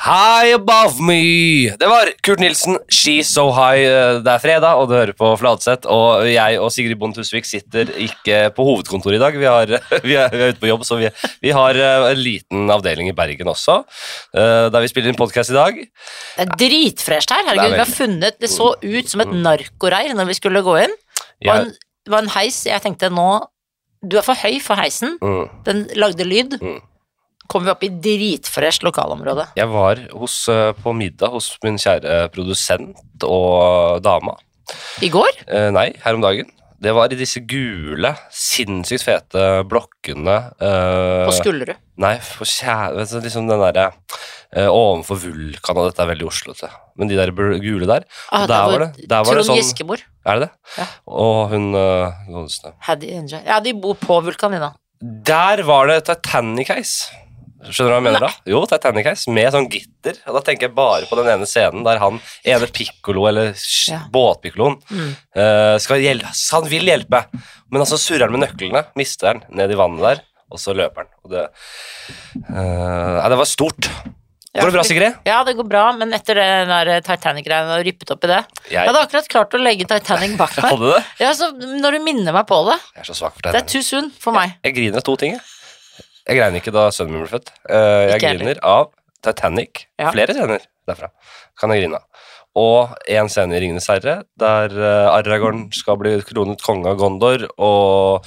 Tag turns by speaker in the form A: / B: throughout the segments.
A: High above me! Det var Kurt Nilsen, She's So High. Eh, Det er fredag, og du hører på Fladseth. Og jeg og Sigrid Bond Tusvik sitter ikke på hovedkontoret i dag. Vi, har, vi, er, vi er ute på jobb, så vi, vi har eh, en liten avdeling i Bergen også, eh, der vi spiller inn podkast i dag.
B: Det er dritfresht her.
A: Det
B: Herregud,
A: er Mm.
B: vi har funnet Det så ut som et narkoreir når vi skulle gå inn. Det
A: Jeg,
B: var en, det var en heis jeg tenkte nå Du er for høy for heisen.
A: mm,
B: Den lagde lyd.
A: Mm.
B: Kom vi opp i dritfresht lokalområde.
A: jeg var hos, eh, på middag hos min kjære eh, produsent og dama.
B: I går?
A: Eh, nei, her om dagen. Det var i disse gule, sinnssykt fete blokkene eh,
B: På Skullerud.
A: Nei, for kjære vet du, Liksom den derre eh, Ovenfor Vulkan, og dette er veldig oslete. Men de der bl- gule der
B: Ah,
A: og der var det, der var det
B: Trond
A: sånn
B: Giske bor.
A: Er det det?
B: Ja.
A: Og hun eh, godeste.
B: Haddy Enjoy. Ja, de bor på Vulkanina.
A: Der var det Titanic-heis. Skjønner du hva jeg mener da? Jo, Titanic-heis med sånn gitter. Og da tenker jeg bare på den ene scenen der han ene pikkolo, eller sh-
B: Ja.
A: båtpikkoloen,
B: Mm.
A: eh, skal hjelpe. Han vil hjelpe, men altså surrer han med nøklene, mister han ned i vannet der, og så løper han. Og det, eh, nei, det var stort.
B: Ja,
A: Går det bra,
B: fordi-
A: Sigrid?
B: Ja, det går bra, men etter det der eh, Titanic-greiene og ryppet opp i det Jeg
A: Jeg
B: hadde akkurat klart å legge Titanic bak meg.
A: hadde det.
B: Ja, så når du minner meg på det
A: Jeg er så svak for
B: Det er
A: Titanic.
B: too soon for meg.
A: Jeg griner av to ting. jeg. Jeg grein ikke da sønnen min ble født. Eh, jeg
B: Ikke jeg
A: griner av Titanic.
B: Ja.
A: Flere scener derfra kan jeg grine av. Og en scene i 'Ringenes herre', der eh, Aragorn skal bli kronet konge av Gondor, og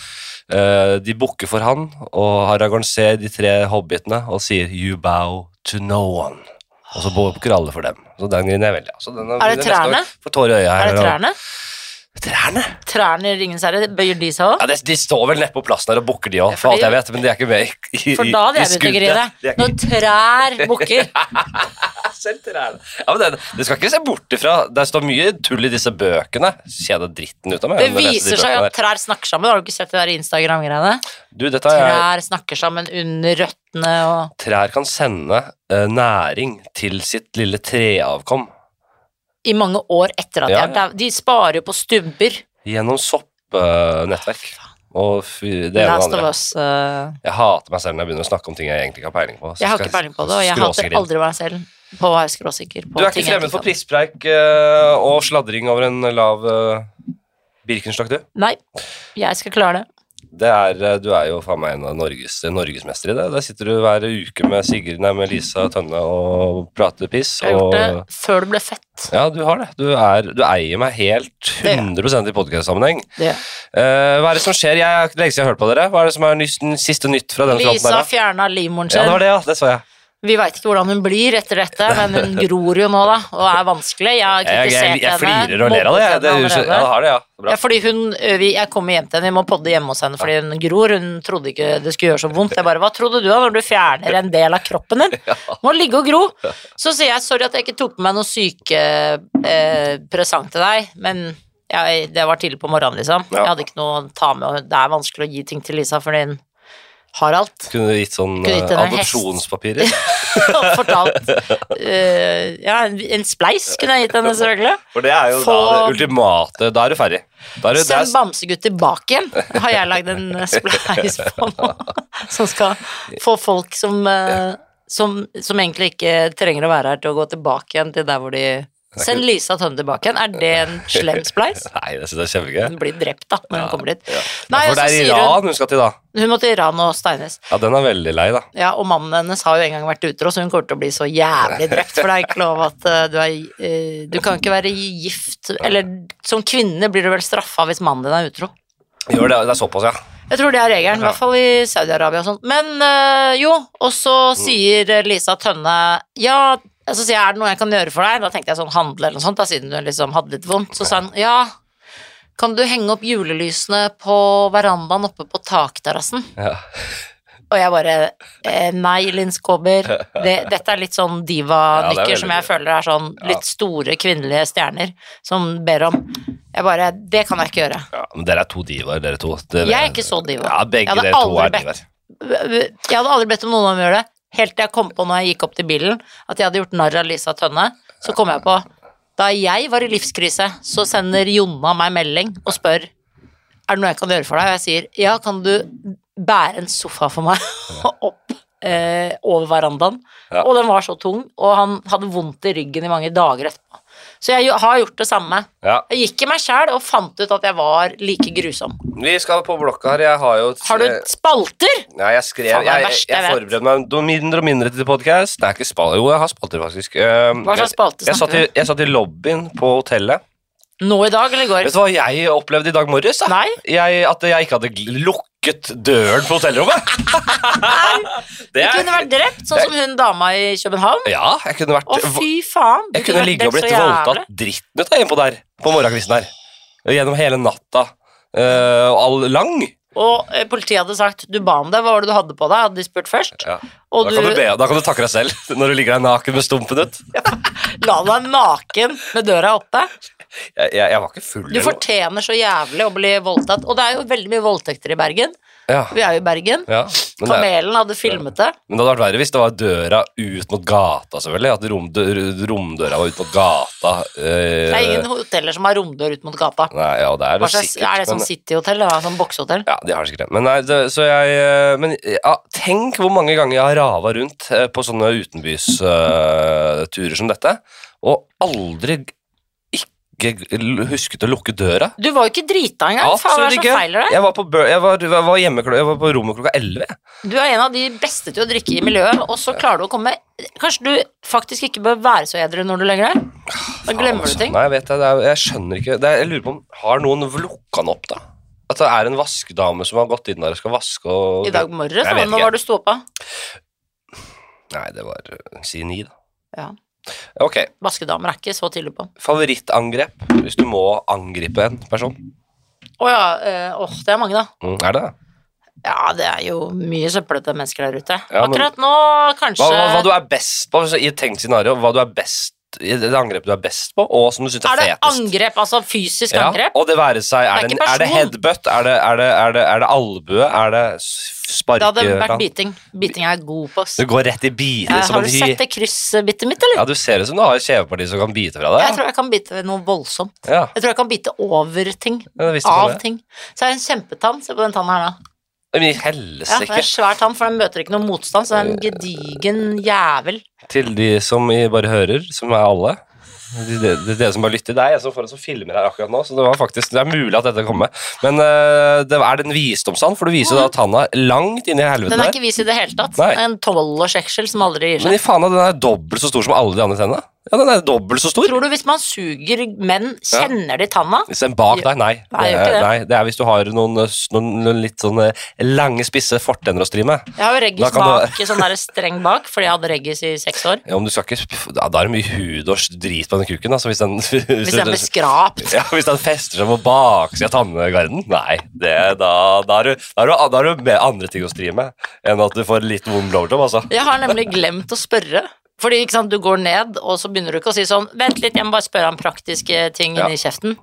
A: eh, de bukker for han, og Aragorn ser de tre hobbitene og sier 'You bow to no one'. Og så bukker alle for dem. Så den griner jeg veldig av. Så den
B: Er det
A: den neste år
B: trærne?
A: Får tårer i øya her.
B: Er det
A: og-
B: trærne?
A: Trærne?
B: Trærne i Ringens herre, bøyer de seg òg?
A: Ja, de, de står vel nede på plassen der og bukker, de òg, for
B: fordi-
A: alt jeg vet. Men de er ikke med i, i,
B: For da hadde jeg begynt å grine.
A: skuddet. De er ikke-
B: Når trær bukker.
A: Selv trærne. Ja, men det, det skal ikke se bort ifra. Det står mye tull i disse bøkene. Kjeder dritten ut av meg.
B: Det
A: når jeg leser de
B: viser seg jo
A: bøkene
B: at trær snakker sammen. Har du ikke sett det der Instagram-greiene?
A: der. Du, dette er
B: Trær snakker sammen under røttene og
A: Trær kan sende eh, næring til sitt lille treavkom
B: I mange år etter at de
A: Ja,
B: er dau. De sparer jo på stubber.
A: gjennom soppnettverk. og fy- det ene og
B: Last
A: det
B: of
A: andre.
B: us. eh,
A: Jeg hater meg selv når jeg begynner å snakke om ting jeg egentlig ikke har peiling på. Så
B: Jeg har
A: skal
B: ikke peiling på det, og jeg hater
A: skråsikre inn.
B: aldri meg selv på å være skråsikker. På
A: Du er ikke
B: ting jeg
A: fremmed for
B: kan.
A: prispreik eh, og sladring over en lav eh, Birkenstock, du?
B: Nei, jeg skal klare det.
A: Det er, eh, du er jo faen meg en av Norges, norgesmester i det. Der sitter du hver uke med Sigrid, nei, med Lisa Tønne og prater piss.
B: Jeg har
A: og,
B: gjort det før det ble fett.
A: Ja, du har det. Du, er, du eier meg helt 100 i podkast-sammenheng.
B: Det.
A: Eh, hva er det som skjer? Jeg har ikke lenge siden jeg har hørt på dere. Hva er det som er nys, siste nytt fra denne fronten
B: Lisa
A: her? da?
B: fjerna livmoren
A: Ja,
B: sin.
A: det var det, ja. Det så jeg.
B: Vi veit ikke hvordan hun blir etter dette, men hun gror jo nå, da, og er vanskelig. Jeg har
A: Jeg, jeg, jeg,
B: kritisert henne.
A: flirer og ler av det. jeg. det er jo så- ja, det har det, ja. Det er
B: Ja,
A: bra.
B: fordi hun, ø, vi, Jeg kommer hjem til henne, vi må podde hjemme hos henne fordi hun gror. Hun trodde ikke det skulle gjøre så vondt. Jeg bare, Hva trodde du da når du fjerner en del av kroppen din? Må ligge og gro. Så sier jeg sorry at jeg ikke tok med meg noe sykepresang til deg, men jeg, det var tidlig på morgenen, liksom.
A: Ja.
B: Jeg hadde ikke noe å ta med, og det er vanskelig å gi ting til Lisa fordi hun har alt.
A: Kunne du gitt sånn
B: Kunne gitt
A: eh,
B: henne en hest.
A: adopsjonspapirer?
B: Og fortalt ø, Ja, en, en spleis kunne jeg gitt henne, selvfølgelig.
A: For det er jo da
B: Få-
A: det ultimate Da er du ferdig. Da er du, det
B: Send
A: er,
B: bamsegutt tilbake igjen, har jeg lagd en eh, spleis på nå. Som skal få folk som, eh, som, som egentlig ikke trenger å være her, til å gå tilbake igjen til der hvor de Send Lisa Tønne tilbake igjen. Er det en slem spleis?
A: nei, det synes jeg er kjempegøy.
B: Hun blir drept, da, når hun kommer dit. Nei,
A: Ja,
B: og
A: for det
B: så
A: er
B: sier hun
A: Iran hun skal til, da.
B: Hun må til Iran og steines.
A: Ja, den er veldig lei, da.
B: Ja, og mannen hennes har jo en gang vært utro, så hun kommer til å bli så jævlig drept. For det er ikke lov at eh, du er eh, Du kan ikke være gift Eller som kvinne blir du vel straffa hvis mannen din er utro.
A: Gjør det, det er såpass, ja.
B: Jeg tror det er regelen, i
A: Ja.
B: hvert fall i Saudi-Arabia og sånn. Men øh, jo, og så sier Lisa Tønne Ja, så sier jeg er det noe jeg kan gjøre for deg? Da tenkte jeg sånn handle eller noe sånt, da siden hun liksom hadde litt vondt. Så sa hun ja, kan du henge opp julelysene på verandaen oppe på takterrassen?
A: ja.
B: Og jeg bare eh, Nei, Linn Skåber. Det, dette er litt
A: Ja, det
B: sånn
A: er
B: diva-nykker
A: veldig
B: som jeg
A: bra.
B: føler er sånn
A: Ja.
B: litt store kvinnelige stjerner som ber om. Jeg bare Det kan jeg ikke gjøre.
A: ja. Men dere er to divaer, dere to. Dere,
B: Jeg er ikke så diva.
A: Ja, begge
B: Jeg hadde
A: dere to
B: aldri
A: er
B: bedt.
A: divaer.
B: Jeg hadde aldri bedt om noen om å gjøre det. Helt til jeg kom på når jeg gikk opp til bilen, at jeg hadde gjort narr av Lisa Tønne. Så kom jeg på da jeg var i livskrise, så sender Jonna meg melding og spør er det noe jeg kan gjøre for deg. Og jeg sier ja, kan du bære en sofa for meg opp eh, over verandaen.
A: Ja.
B: Og den var så tung, og han hadde vondt i ryggen i mange dager etterpå. Så jeg jo- har gjort det samme.
A: Ja.
B: Jeg gikk i meg sjæl og fant ut at jeg var like grusom.
A: Vi skal på blokka her. Jeg har jo
B: Har du spalter?
A: Nei, jeg skrev
B: Faen,
A: Jeg,
B: det er det
A: jeg,
B: verste jeg
A: jeg
B: vet.
A: forberedte meg do- mindre og mindre til podkast. Det er ikke spal... Jo, jeg har spalter, faktisk. Ehm,
B: Hva slags
A: jeg-
B: spalte
A: jeg, satt
B: snakker
A: i, jeg satt i lobbyen på hotellet.
B: Nå i dag eller i går?
A: Vet du hva jeg opplevde i dag morges? da?
B: Nei?
A: Jeg, at jeg ikke hadde gl- lukket døren på hotellrommet. det
B: Du
A: er,
B: kunne vært drept, sånn
A: det-
B: som hun dama i København.
A: ja, jeg kunne vært
B: Å, fy faen! du
A: Jeg kunne
B: vært
A: ligge og
B: drept
A: blitt
B: så jævlig.
A: voldtatt dritten ut av innpå der på morgenkvisten her. Gjennom hele natta. Eh, og all lang.
B: Og eh, politiet hadde sagt du ba om det, hva var det du hadde på deg? Hadde de spurt først?
A: Ja.
B: Og
A: Da,
B: du,
A: kan du be, da kan du takke deg selv når du ligger der naken med stumpen ut.
B: la deg naken med døra oppe.
A: Jeg, jeg, jeg var ikke full.
B: Du
A: eller noe.
B: fortjener så jævlig å bli voldtatt. Og det er jo veldig mye voldtekter i Bergen.
A: Ja.
B: Vi er jo i Bergen.
A: Ja, men, det,
B: Kamelen hadde filmet det.
A: men det hadde vært verre hvis det var døra ut mot gata, selvfølgelig. At rom, dør, romdøra var ut mot gata. eh,
B: Det er ingen hoteller som har romdør ut mot gata.
A: Nei, ja, det er
B: Hva
A: det
B: slags,
A: sikkert.
B: er det
A: men-
B: sånn cityhotell? eller Sånn boksehotell?
A: Ja, de har sikkert det. Men, nei, det, så jeg, eh, men ja, tenk hvor mange ganger jeg har rava rundt eh, på sånne utenbysturer som dette, og aldri ikke l- husket å lukke døra.
B: Du var jo ikke drita engang. Faen, hva er
A: Absolutt
B: det som
A: ikke.
B: feiler deg?
A: Jeg var på, bø- jeg var, jeg var hjemme, klo- jeg var på rommet klokka 11. jeg.
B: Du er en av de beste til å drikke i miljøet, og så klarer du å komme Kanskje du faktisk ikke bør være så edru når du legger deg? Da glemmer
A: Altså,
B: du ting.
A: Nei, jeg vet det. det er, jeg skjønner ikke det er, Jeg lurer på om Har noen lukka den opp, da? At det er en vaskedame som har gått inn der og skal vaske og
B: I dag
A: Jeg
B: morges, da,
A: vet
B: nå
A: ikke.
B: var du stå på.
A: Nei, det var eh, Si ni, da.
B: Ja.
A: Ok.
B: Vaskedamer er ikke så tidlig på.
A: Favorittangrep, hvis du må angripe en person?
B: Å ja, eh, åh, det er mange, da.
A: Mm, er det det?
B: Ja, det er jo mye søppelete mennesker der ute.
A: Ja, men-
B: Akkurat nå, kanskje
A: Hva, hva, hva du er best på altså, i et tenkt scenario? Hva du er best i det angrepet du er best på, og som du syns er,
B: Er det
A: fetest?
B: angrep, altså fysisk
A: Ja,
B: angrep?
A: og det være seg Er det, en-
B: Det er ikke
A: er det
B: person.
A: headbutt? Er det, er, det, er, det, er det albue? Er det s- sparke
B: Det hadde vært
A: kan-
B: biting. Biting er jeg god på. ass.
A: Du går rett i biter
B: Eh,
A: som
B: har
A: en
B: du
A: hi-
B: sett det kryssbittet mitt, eller?
A: Ja, du ser ut som du har et kjeveparti som kan bite fra deg.
B: Jeg tror jeg kan bite noe voldsomt.
A: Ja,
B: Jeg tror jeg kan bite over ting.
A: ja, det visste jeg
B: Av
A: ikke.
B: ting. Så jeg har en kjempetann. Se på den tannen her, da.
A: Men i
B: Ja, det er
A: helsike
B: en svær tann, for den møter ikke noe motstand, så det er
A: Eh.
B: en gedigen jævel.
A: til de som i bare hører, som er alle. De- de- de- Dere som bare lytter. Det er en som får oss og filmer her akkurat nå, så det, var faktisk, det er mulig at dette kommer. Men øh, det er det en visdomstann, for du viser da tanna langt inn i helvete
B: Den
A: der.
B: er ikke vis i det hele tatt.
A: Nei.
B: En tolvårsjeksel som aldri gir seg.
A: Men i faen, da, den er dobbelt så stor som alle de andre tennene. Ja, den er dobbelt så stor.
B: Tror du hvis man suger menn, kjenner de tanna?
A: Hvis den bak deg, nei.
B: Nei,
A: det,
B: gjør ikke
A: er,
B: det.
A: nei. det er hvis du har noen, øh, s- noen, noen litt sånne lange, spisse fortenner å stri med.
B: Jeg har jo
A: Da
B: reggis
A: kan du-
B: bak, sånn der streng bak, fordi jeg hadde reggis i seks år.
A: Ja, om du skal ikke, sp- ja, da er det mye hud og s- drit på den kuken. Altså, hvis den, hvis
B: Hvis den ble skrapt.
A: Ja, Hvis den fester seg på baksida av tannegarden? Nei, det, da, da, er du, da, er du, da er du med andre ting å stri med enn at du får en liten vond blowjob, altså.
B: Jeg har nemlig glemt å spørre. Fordi ikke sant, du går ned, og så begynner du ikke å si sånn Vent litt, jeg må bare spørre om praktiske ting
A: Ja.
B: inni kjeften.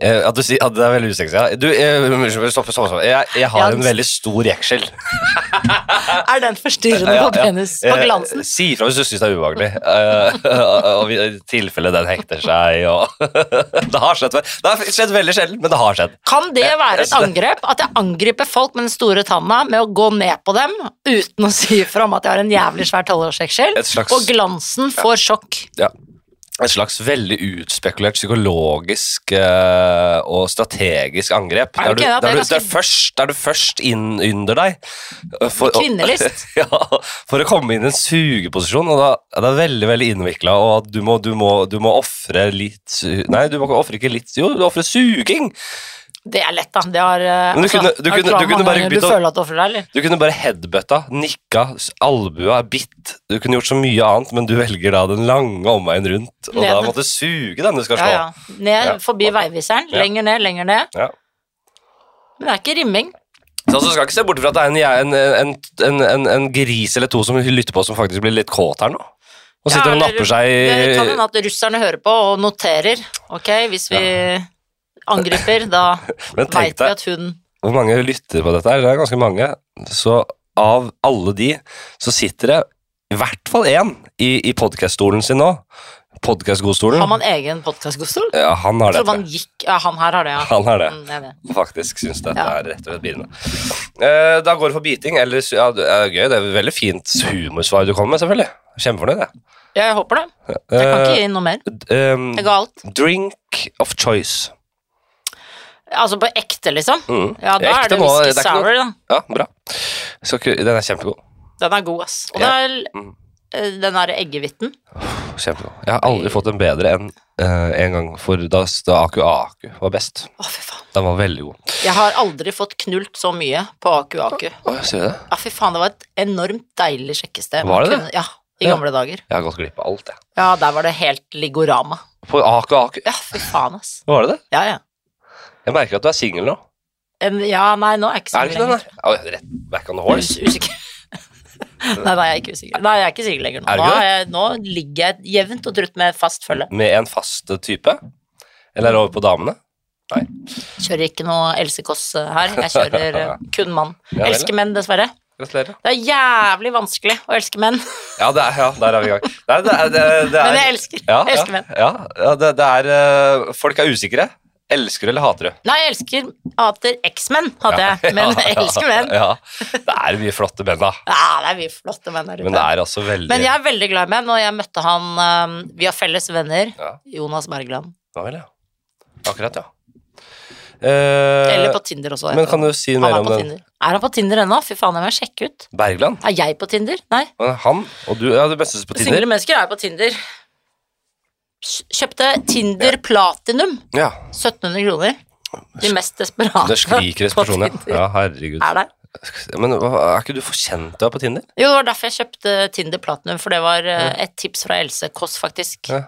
A: Eh, at du sier, at det er veldig usexy. Ja. Du, eh, unnskyld, stopp, stopp, stopp. Jeg, jeg
B: Ja,
A: har
B: den-
A: en veldig stor jeksel.
B: Er den forstyrrende
A: Ja,
B: på
A: ja.
B: penis? På
A: Eh,
B: glansen?
A: Si ifra hvis du syns det er ubehagelig. Eh, og vi- I tilfelle den hekter seg og Det har skjedd før. Det har skjedd veldig sjelden, men det har skjedd.
B: Kan det være et
A: jeg-
B: angrep? At jeg angriper folk med den store tanna med å gå ned på dem uten å si ifra om at jeg har en jævlig svær tolvårsjeksel?
A: Et slags-
B: Og glansen får sjokk.
A: Ja. Et slags veldig utspekulert psykologisk eh, og strategisk angrep.
B: Er det
A: du,
B: ikke det at det
A: der,
B: er
A: du,
B: ganske-
A: der, først, der du først inn under deg eh, for, å-
B: Kvinnelist.
A: ja, for å komme inn i en sugeposisjon. Og da er det veldig veldig innvikla, og at du må, du må, du må ofre litt su- Nei, du må ikke ofre ikke litt Jo, du ofrer suging!
B: Det er lett, da. Det har, eh,
A: Men du kunne- du
B: har
A: kunne-
B: klart
A: du kunne
B: mange
A: bare
B: ganger
A: bytte
B: Du
A: å-
B: føler at du ofrer deg, eller?
A: Du kunne bare headbutta, nikka, s- albua, bitt. Du kunne gjort så mye annet, men du velger da den lange omveien rundt, og da
B: Ned.
A: måtte suge den du skal
B: Ja,
A: slå.
B: ja. Ned
A: Ja.
B: forbi veiviseren.
A: Ja.
B: Lenger ned, lenger ned.
A: Ja.
B: Men det er ikke rimming.
A: Så altså, skal ikke se bort fra at det er en, en, en, en, en, en gris eller to som lytter på, som faktisk blir litt kåt her nå. Og sitter og
B: eller-
A: napper seg
B: Det sånn kan hende
A: i
B: at russerne hører på og noterer. Ok, hvis vi angriper, da
A: Men tenk
B: veit vi
A: deg
B: at hun
A: hvor mange lytter på dette her. Det er ganske mange. Så av alle de, så sitter det i hvert fall én i, i podkaststolen sin nå. Podkastgodstolen.
B: Har man egen podkastgodstol?
A: Ja, han har det.
B: Så man gikk Ja, han her har det, ja.
A: Han har det.
B: Mm, jeg vet.
A: Faktisk syns dette
B: Ja.
A: er rett og slett bilene. Eh, da går det for biting. Eller, su- ja, det er gøy. Det er veldig fint humorsvar du kommer med, selvfølgelig. Kjempefornøyd, jeg.
B: Jeg håper det. Jeg kan ikke gi noe mer.
A: Eh,
B: Jeg ga alt.
A: eh, drink of choice.
B: Altså på ekte, liksom.
A: Mm.
B: Ja, da
A: Ekte
B: er det
A: nå,
B: whisky
A: det er ikke noe-
B: sour, da.
A: Ja, bra. Så, ku- den er kjempegod.
B: Den er god, ass. Og
A: Ja.
B: den er,
A: Mm.
B: eh, den der eggehvitten.
A: kjempegod. Jeg har aldri fått en bedre enn eh, en gang for da, da Aku Aku var best.
B: Å, fy faen.
A: Den var veldig god.
B: Jeg har aldri fått knult så mye på Aku Aku.
A: Å, Sier du det?
B: Ja, fy faen, det var et enormt deilig sjekkested.
A: Var det det?
B: Kunne- Ja, i
A: Ja.
B: gamle dager.
A: Jeg har gått glipp av alt, jeg.
B: Ja, der var det helt Ligorama.
A: På Aku Aku.
B: Ja, fy faen, ass.
A: Var det det?
B: Ja, ja.
A: Jeg merker at du er singel nå.
B: En, ja, nei, nå er jeg ikke
A: Er
B: singel
A: det ikke den
B: lenger.
A: der? Oi, rett back on the horse.
B: Us- Usikker. nei, nei, jeg er ikke usikker. Nei, jeg er ikke singel lenger nå.
A: Er du
B: Nå,
A: ikke
B: er jeg, nå ligger jeg jevnt og trutt med fast følge.
A: Med en fast eh, type? Eller er det over på damene?
B: Kjører ikke noe Else Kåss eh, her. Jeg kjører eh, kun mann.
A: Ja, vel.
B: Elsker menn, dessverre.
A: Gratulerer.
B: Det er jævlig vanskelig å elske menn,
A: Ja, det er, ja, der er vi i gang. Nei, det er, det, er- det er,
B: men jeg elsker,
A: ja,
B: jeg elsker menn.
A: Ja, ja, ja det, det er eh, Folk er usikre. Elsker du eller hater du?
B: Nei, jeg elsker hater eksmenn, hater jeg, men jeg elsker menn.
A: Ja, Det er mye flotte menn, da.
B: Ja, det er mye flotte menn der ute.
A: Men det er altså veldig
B: Men jeg er veldig glad i menn, og jeg møtte han um, Vi har felles venner.
A: Ja.
B: Jonas Bergland.
A: Ja vel, ja. Akkurat, ja. Eh,
B: Eller på Tinder også.
A: men kan du si
B: han
A: mer
B: er,
A: om
B: på
A: den?
B: Tinder. er han på Tinder ennå? Fy faen, jeg må sjekke ut.
A: Bergland?
B: Er jeg på Tinder? Nei.
A: Men Han og du? Ja, du bestes på Tinder?
B: Single mennesker er på Tinder. Kj- Kjøpte Tinder Platinum.
A: Ja.
B: 1700 kroner. De mest desperate
A: Det skriker
B: på
A: respirasjon, ja.
B: Tinder
A: ja. Herregud.
B: Er der.
A: Men hva- er ikke du for kjent du er på Tinder?
B: Jo, det var derfor jeg kjøpte Tinder Platinum, for det var eh, et tips fra Else Kåss, faktisk.
A: Ja.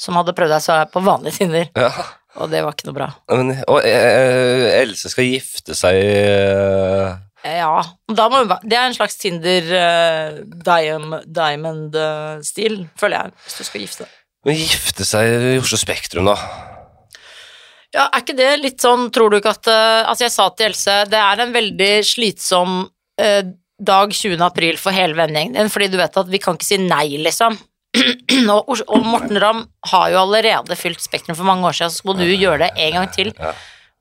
B: Som hadde prøvd seg på vanlig Tinder,
A: Ja.
B: og det var ikke noe bra.
A: Men, og eh, Else skal gifte seg eh,
B: Ja, da må hun være Det er en slags Tinder eh, diam- diamond-stil, føler jeg, hvis du skal gifte deg.
A: Men gifte seg i Oslo Spektrum, da.
B: Ja, er ikke det litt sånn, tror du ikke at eh, Altså, jeg sa til Else, det er en veldig slitsom eh, dag 20. april for hele vennegjengen din, fordi du vet at vi kan ikke si nei, liksom. og, Os- og Morten Ramm har jo allerede fylt Spektrum for mange år siden, så må du gjøre det en gang til.
A: Ja.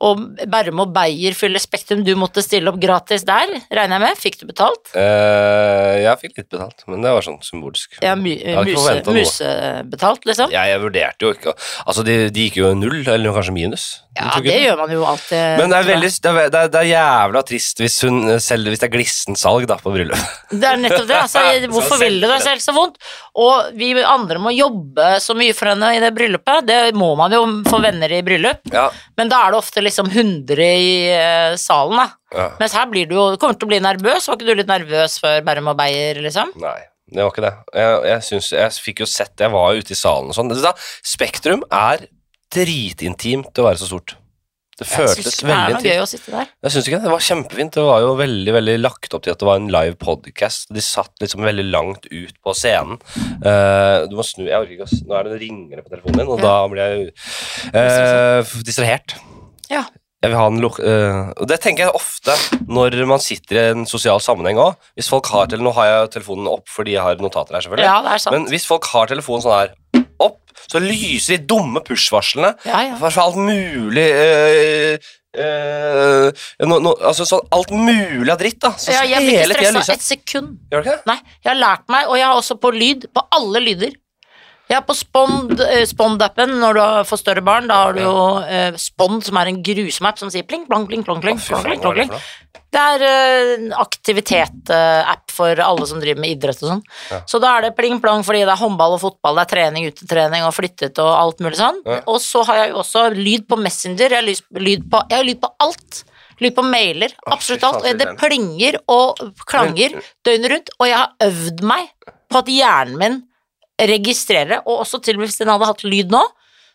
B: Og Bærum og Beyer fyller Spektrum, du måtte stille opp gratis der, regner jeg med. Fikk du betalt?
A: Eh, jeg fikk litt betalt, men det var sånn symbolsk.
B: Ja, mu
A: Jeg hadde ikke
B: muse,
A: forventet noe.
B: musebetalt, liksom.
A: Jeg, jeg vurderte jo ikke å- Altså, de, de gikk jo null, eller kanskje minus. De
B: Ja,
A: tok
B: det
A: ut.
B: gjør man jo alltid.
A: Men det er, veldig, det, er, det, er, det er jævla trist hvis, hun, selv hvis det er glissent salg da, på bryllup.
B: Det er nettopp det. Altså, hvorfor vil du deg selv så vondt? Og vi andre må jobbe så mye for henne i det bryllupet. Det må man jo for venner i bryllup,
A: Ja.
B: men da er det ofte liksom 100 i eh, salen, da.
A: ja.
B: Mens her blir du jo Du kommer til å bli nervøs. Var ikke du litt nervøs før Bærum og Beyer, liksom?
A: Nei, det var ikke det. Jeg, jeg, syns- jeg fikk jo sett Jeg var jo ute i salen og sånn. Det- Da, Spektrum er dritintimt til å være så stort. Det
B: Jeg synes
A: føltes
B: ikke det er
A: veldig
B: noe
A: intimt.
B: gøy å sitte der.
A: Jeg syns ikke det. Det var kjempefint. Det var jo veldig veldig lagt opp til at det var en live podcast. De satt liksom veldig langt ut på scenen. Eh, du må snu Jeg orker ikke å s- Nå er det noen ringere på telefonen min, og
B: Ja.
A: da blir jeg eh, f- distrahert.
B: Ja.
A: Jeg vil ha en luk eh, Og det tenker jeg ofte når man sitter i en sosial sammenheng òg. Hvis folk har til Nå har jeg telefonen opp fordi jeg har notater her, selvfølgelig.
B: ja, det er sant.
A: Men hvis folk har telefonen sånn her opp, så lyser de dumme push-varslene
B: ja, ja.
A: for alt mulig eh, eh, no, no, altså sånn alt mulig av dritt, da. Så
B: Ja, jeg blir
A: hele
B: ikke
A: tida lyser
B: stressa et sekund.
A: Gjør det ikke det?
B: Nei, jeg har lært meg, og jeg har også på lyd, på alle lyder. Jeg er på Spond, eh, Spond-appen når du har- får større barn. Da har du jo eh, Spond, som er en grusom app som sier pling, plong, pling, plong, pling,
A: Å, fy faen,
B: plong, pling,
A: hva
B: plong,
A: er det
B: pling.
A: for noe?
B: Det er eh, en aktivitet-app for alle som driver med idrett og sånn.
A: Ja.
B: Så da er det pling plong fordi det er håndball og fotball, det er trening, utetrening og flyttet og alt mulig sånn.
A: Ja.
B: Og så har jeg jo også lyd på Messenger, jeg har lys- lyd på, jeg har lyd på alt. Lyd på mailer,
A: Å,
B: absolutt
A: fy faen,
B: alt.
A: så
B: Og det
A: irriterende.
B: plinger og klanger døgnet rundt, og jeg har øvd meg på at hjernen min registrerer, og også til og med hvis den hadde hatt lyd nå,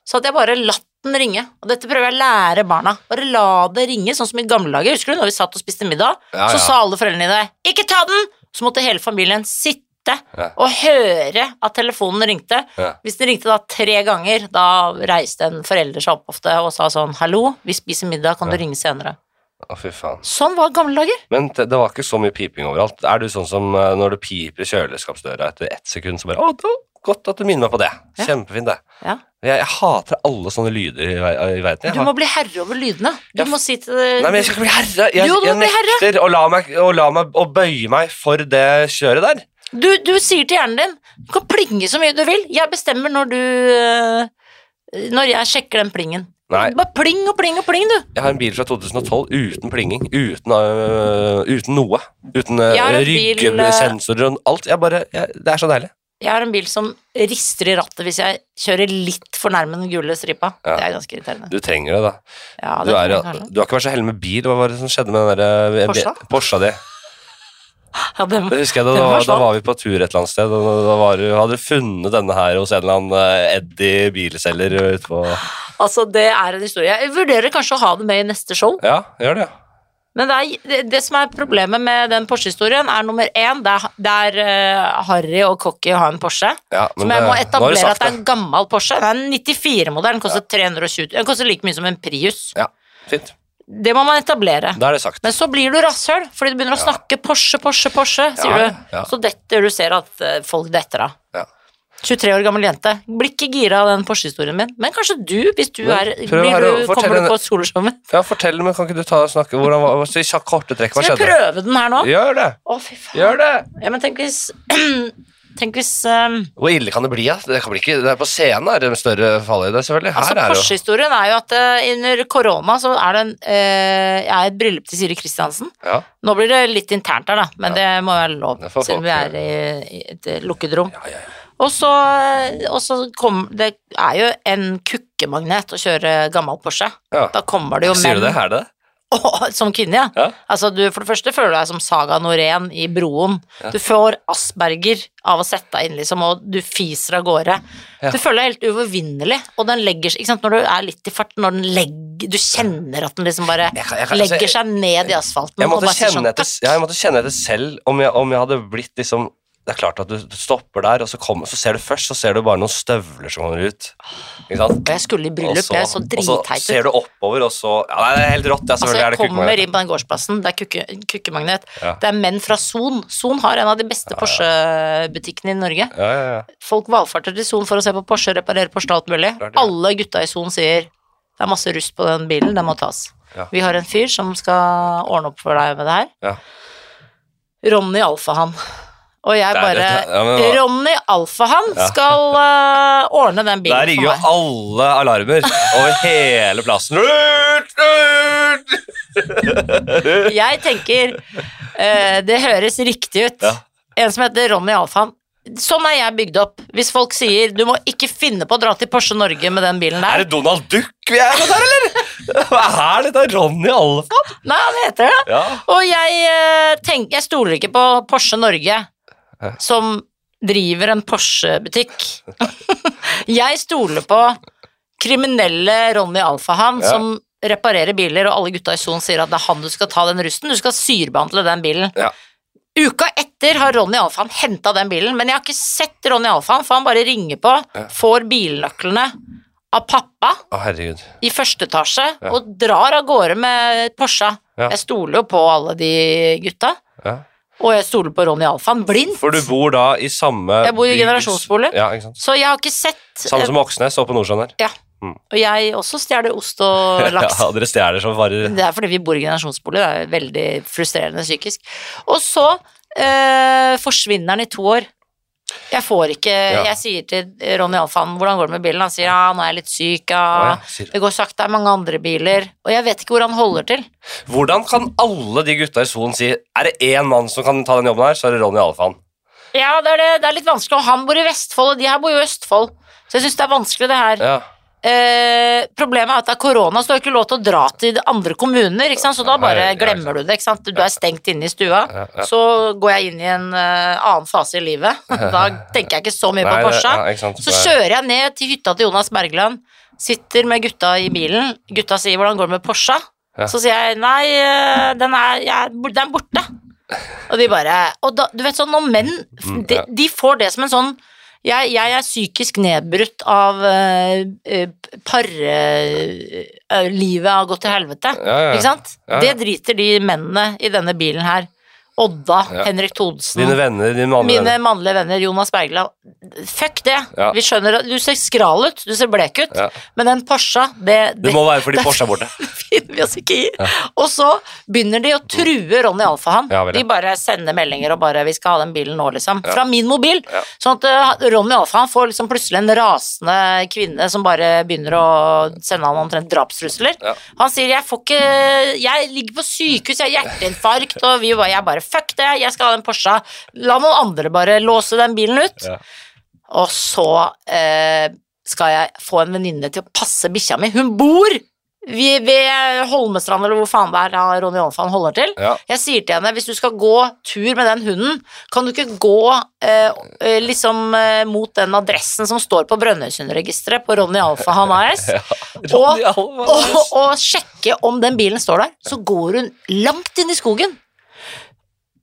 B: så hadde jeg bare latt den ringe. Og dette prøver jeg å lære barna. Bare la det ringe, sånn som i gamle dager. Husker du når vi satt og spiste middag?
A: Ja,
B: Så
A: ja.
B: sa alle foreldrene dine 'ikke ta den'! Så måtte hele familien sitte
A: Ja.
B: og høre at telefonen ringte.
A: Ja.
B: Hvis den ringte da tre ganger, da reiste en forelder seg opp ofte og sa sånn 'hallo, vi spiser middag, kan du ringe senere'?
A: Å, fy faen.
B: Sånn var gamle dager.
A: Men det, det var ikke så mye piping overalt. Er du sånn som eh, når du piper i kjøleskapsdøra etter ett sekund, så bare Å, det var godt at du minner meg på det.
B: Ja.
A: Kjempefint, det.
B: Ja.
A: Jeg, jeg hater alle sånne lyder i, vei- i verden. Jeg
B: Du
A: har-
B: må bli herre over lydene. Du
A: Ja,
B: må si til
A: Nei, men jeg skal ikke bli herre. Jeg,
B: Jo, du må
A: jeg
B: bli herre.
A: nekter å la, meg, å la meg å bøye meg for det kjøret der.
B: Du, du sier til hjernen din Du kan plinge så mye du vil. Jeg bestemmer når du øh, Når jeg sjekker den plingen.
A: Nei,
B: Bare pling og pling og pling, du.
A: jeg har en bil fra 2012 uten plinging. Uten, øh, uten noe. Uten øh,
B: Jeg har en bil, øh,
A: ryggesensorer og alt. Jeg bare, jeg, det er så deilig.
B: Jeg har en bil som rister i rattet hvis jeg kjører litt for nærme den gule stripa.
A: Ja.
B: Det er ganske irriterende.
A: Du trenger det, da.
B: Ja,
A: du,
B: det
A: er,
B: tror jeg kanskje.
A: du har ikke vært så heldig med bil. Hva var det som skjedde med den der, øh,
B: Porsche?
A: Porsche di?
B: ja, det,
A: Det husker jeg, da,
B: Den
A: da, var- da
B: forsvant.
A: var vi på tur et eller annet sted, og da, da var, du- hadde du funnet denne her hos en eller annen eh, Eddie bilselger ute på
B: altså, det er en historie. Jeg vurderer kanskje å ha det med i neste show.
A: Ja, gjør det.
B: Men det, er, det, det som er problemet med den Porsche-historien, er nummer én Det er, det er øh, Harry og Cocky har en Porsche.
A: Ja, men
B: Som jeg
A: det- nå
B: må
A: har du
B: etablere
A: sagt
B: at det er en gammel Porsche. Det er en 94-modell. Den koster 320 Den koster like mye som en Prius.
A: Ja, fint.
B: Det må man etablere.
A: Da er det sagt.
B: Men så blir du rasshøl fordi du begynner å
A: Ja.
B: snakke Porsche, Porsche, Porsche, sier
A: Ja,
B: du.
A: ja.
B: Så detter du ser at eh, folk detter av.
A: Ja.
B: 23 år gammel jente. Blir ikke gira av den Porsche-historien min. Men kanskje du, hvis du
A: Men
B: er
A: prøv her
B: blir
A: å
B: du,
A: fortelle
B: Kommer
A: henne-
B: du på skoleshowet?
A: Ja, fortell, men kan ikke du ta og snakke hvordan, hva, så I kjapt- korte trekk, hva
B: Skal jeg
A: skjedde?
B: prøve den her nå?
A: Gjør det!
B: Å, fy faen.
A: Gjør det!
B: Ja, men tenk hvis Tenk hvis eh,
A: Hvor ille kan det bli? Ja? Det, kan bli ikke, det er på scenen er det en større fallhøyde, selvfølgelig. Her
B: Altså,
A: er det jo
B: Porsche-historien er jo at eh, under korona så er det en, eh, jeg er et bryllup til Siri Kristiansen.
A: ja,
B: Nå blir det litt internt her, da, men det må være lov,
A: Det får
B: siden
A: folk
B: vi er i, i et lukket rom.
A: ja, ja.
B: Og så, eh, og så kom Det er jo en kukkemagnet å kjøre gammel Porsche.
A: ja.
B: Da kommer det jo menn
A: Sier du det? Er det det?
B: Åh, som kvinne, ja.
A: Ja.
B: Altså, du, for det første føler du deg som Saga Norén i Broen.
A: Ja.
B: Du får asperger av å sette deg inn, liksom, og du fiser av gårde.
A: Ja.
B: Du føler deg helt uovervinnelig, og den legger seg Ikke sant, når du er litt i farten, når den legger Du kjenner at den liksom bare
A: Jeg kan- jeg kan- altså,
B: legger seg ned i asfalten.
A: Jeg
B: og
A: måtte,
B: bare sier sånn,
A: kjenne etter,
B: «Takk».
A: ja, jeg måtte kjenne etter selv om jeg, om jeg hadde blitt liksom Det er klart at du stopper der, og så, kommer, så ser du først så ser du bare noen støvler som kommer ut. Ikke sant?
B: Og jeg skulle i
A: Og
B: bryllup, jeg så
A: og så
B: dritteit ut.
A: ser du oppover, og så ja, nei, Det er helt rått. Ja,
B: Altså,
A: selvfølgelig
B: jeg
A: er
B: kommer
A: det
B: inn på den gårdsplassen, det er kukke- kukkemagnet.
A: Ja.
B: Det er menn fra Son. Son har en av de beste Porsche-butikkene i Norge.
A: Ja, ja, ja.
B: Folk valfarter til Son for å se på Porsche, reparere Porsche og alt mulig.
A: Klart det.
B: Alle gutta i Son sier det er masse rust på den bilen, den må tas.
A: Ja.
B: Vi har en fyr som skal ordne opp for deg med det her.
A: Ja.
B: Ronny Alfahan. Og jeg
A: Det er-
B: bare
A: det- ja, men hva-
B: Ronny Alfahan
A: Ja.
B: skal eh, ordne den
A: Der
B: bilen
A: ringer
B: for
A: jo
B: meg.
A: alle alarmer over hele plassen. Rut, rut!
B: Jeg tenker eh, Det høres riktig ut.
A: Ja.
B: En som heter Ronny Alfahan. Sånn er jeg bygd opp. Hvis folk sier 'du må ikke finne på å dra til Porsche Norge med den bilen
A: Er
B: der',
A: det Donald Duck vi er på der, eller? Hva er dette? Ronny Alfa?
B: nei, han heter det.
A: Ja.
B: Og jeg eh, tenker Jeg stoler ikke på Porsche Norge,
A: Hæ?
B: som driver en Porsche-butikk. jeg stoler på kriminelle Ronny Alfahan,
A: Ja.
B: som reparerer biler, og alle gutta i Son sier at det er han du skal ta den rusten. Du skal syrebehandle den bilen.
A: Ja.
B: Uka etter har Ronny Alfahan henta den bilen, men jeg har ikke sett Ronny Alfahan, for han bare ringer på,
A: Ja.
B: får bilnøklene av pappa
A: Å, herregud.
B: i første etasje
A: Ja.
B: og drar av gårde med Porsche.
A: Ja.
B: Jeg stoler jo på alle de gutta,
A: Ja.
B: og jeg stoler på Ronny Alfan blind.
A: For du bor da i samme
B: Jeg bor i
A: bygg-
B: generasjonsbolig.
A: Ja, ikke sant?
B: Så jeg har ikke sett eh,
A: Samme som Oksnes og på Nordsjøen der.
B: Og jeg også stjeler ost og laks.
A: Ja, dere stjeler som varer.
B: Det er fordi vi bor i generasjonsbolig, det er veldig frustrerende psykisk. Og så eh, forsvinner han i to år. Jeg får ikke
A: Ja.
B: Jeg sier til Ronny Alfan hvordan går det med bilen, han sier ja, nå er jeg litt syk, ja.
A: Å, ja, sier du.
B: Det går sakte, det er mange andre biler. Og jeg vet ikke hvor han holder til.
A: Hvordan kan alle de gutta i Son si Er det én mann som kan ta den jobben her, så er det Ronny Alfan.
B: Ja, det er, det, det er litt vanskelig. Og han bor i Vestfold, og de her bor jo i Østfold. Så jeg syns det er vanskelig, det her.
A: Ja.
B: Eh, problemet er at det er korona, så du har ikke lov til å dra til andre kommuner, ikke sant? så da bare
A: Nei, ja,
B: glemmer du det. ikke sant? Du er stengt inne i stua.
A: Ja, ja.
B: Så går jeg inn i en eh, annen fase i livet. Da tenker jeg ikke så mye
A: Nei,
B: på
A: det-
B: Porsche.
A: ja, ikke sant?
B: Så kjører jeg ned til hytta til Jonas Bergland, sitter med gutta i bilen. Gutta sier 'hvordan går det med Porsche?'
A: Ja.
B: Så sier jeg 'nei, eh, den er, jeg, den er borte'. Og de bare Og da, du vet sånn, når menn
A: Mm,
B: de,
A: ja.
B: de får det som en sånn Jeg, jeg er psykisk nedbrutt av eh, parelivet eh, har gått til helvete.
A: Ja, ja,
B: Ikke
A: ja.
B: sant?
A: Ja,
B: Det
A: ja.
B: driter de mennene i denne bilen her. Odda,
A: Ja.
B: Henrik Thodesen,
A: Dine venner, dine mannlige
B: mine
A: venner.
B: mannlige venner, Jonas Bergland. Fuck det!
A: Ja.
B: Vi skjønner at Du ser skral ut, du ser blek ut,
A: Ja.
B: men den Porscha, det,
A: Det
B: det
A: må være fordi
B: det-
A: Porsche er borte.
B: finner vi oss ikke i. Og så begynner de å true Ronny Alfahann.
A: Ja, vel, ja.
B: de bare sender meldinger og bare 'vi skal ha den bilen nå', liksom.
A: Ja.
B: Fra min mobil.
A: Ja.
B: Sånn at eh, Ronny Alfahann får liksom plutselig en rasende kvinne som bare begynner å sende han omtrent drapstrusler.
A: Ja.
B: Han sier 'jeg får ikke Jeg ligger på sykehus, jeg har hjerteinfarkt', og vi bare, jeg bare 'fuck det, jeg skal ha den Porscha'. La noen andre bare låse den bilen ut.
A: Ja.
B: Og så eh, skal jeg få en venninne til å passe bikkja mi. Hun bor ved, ved Holmestrand, eller hvor faen det er da Ronny Aanfan holder til.
A: Ja.
B: Jeg sier til henne hvis du skal gå tur med den hunden, kan du ikke gå eh, eh, liksom eh, mot den adressen som står på Brønnøysundregisteret på Ronny Alfa Han AS,
A: Ronny Alvarez.
B: og, og sjekke om den bilen står der. Så går hun langt inn i skogen.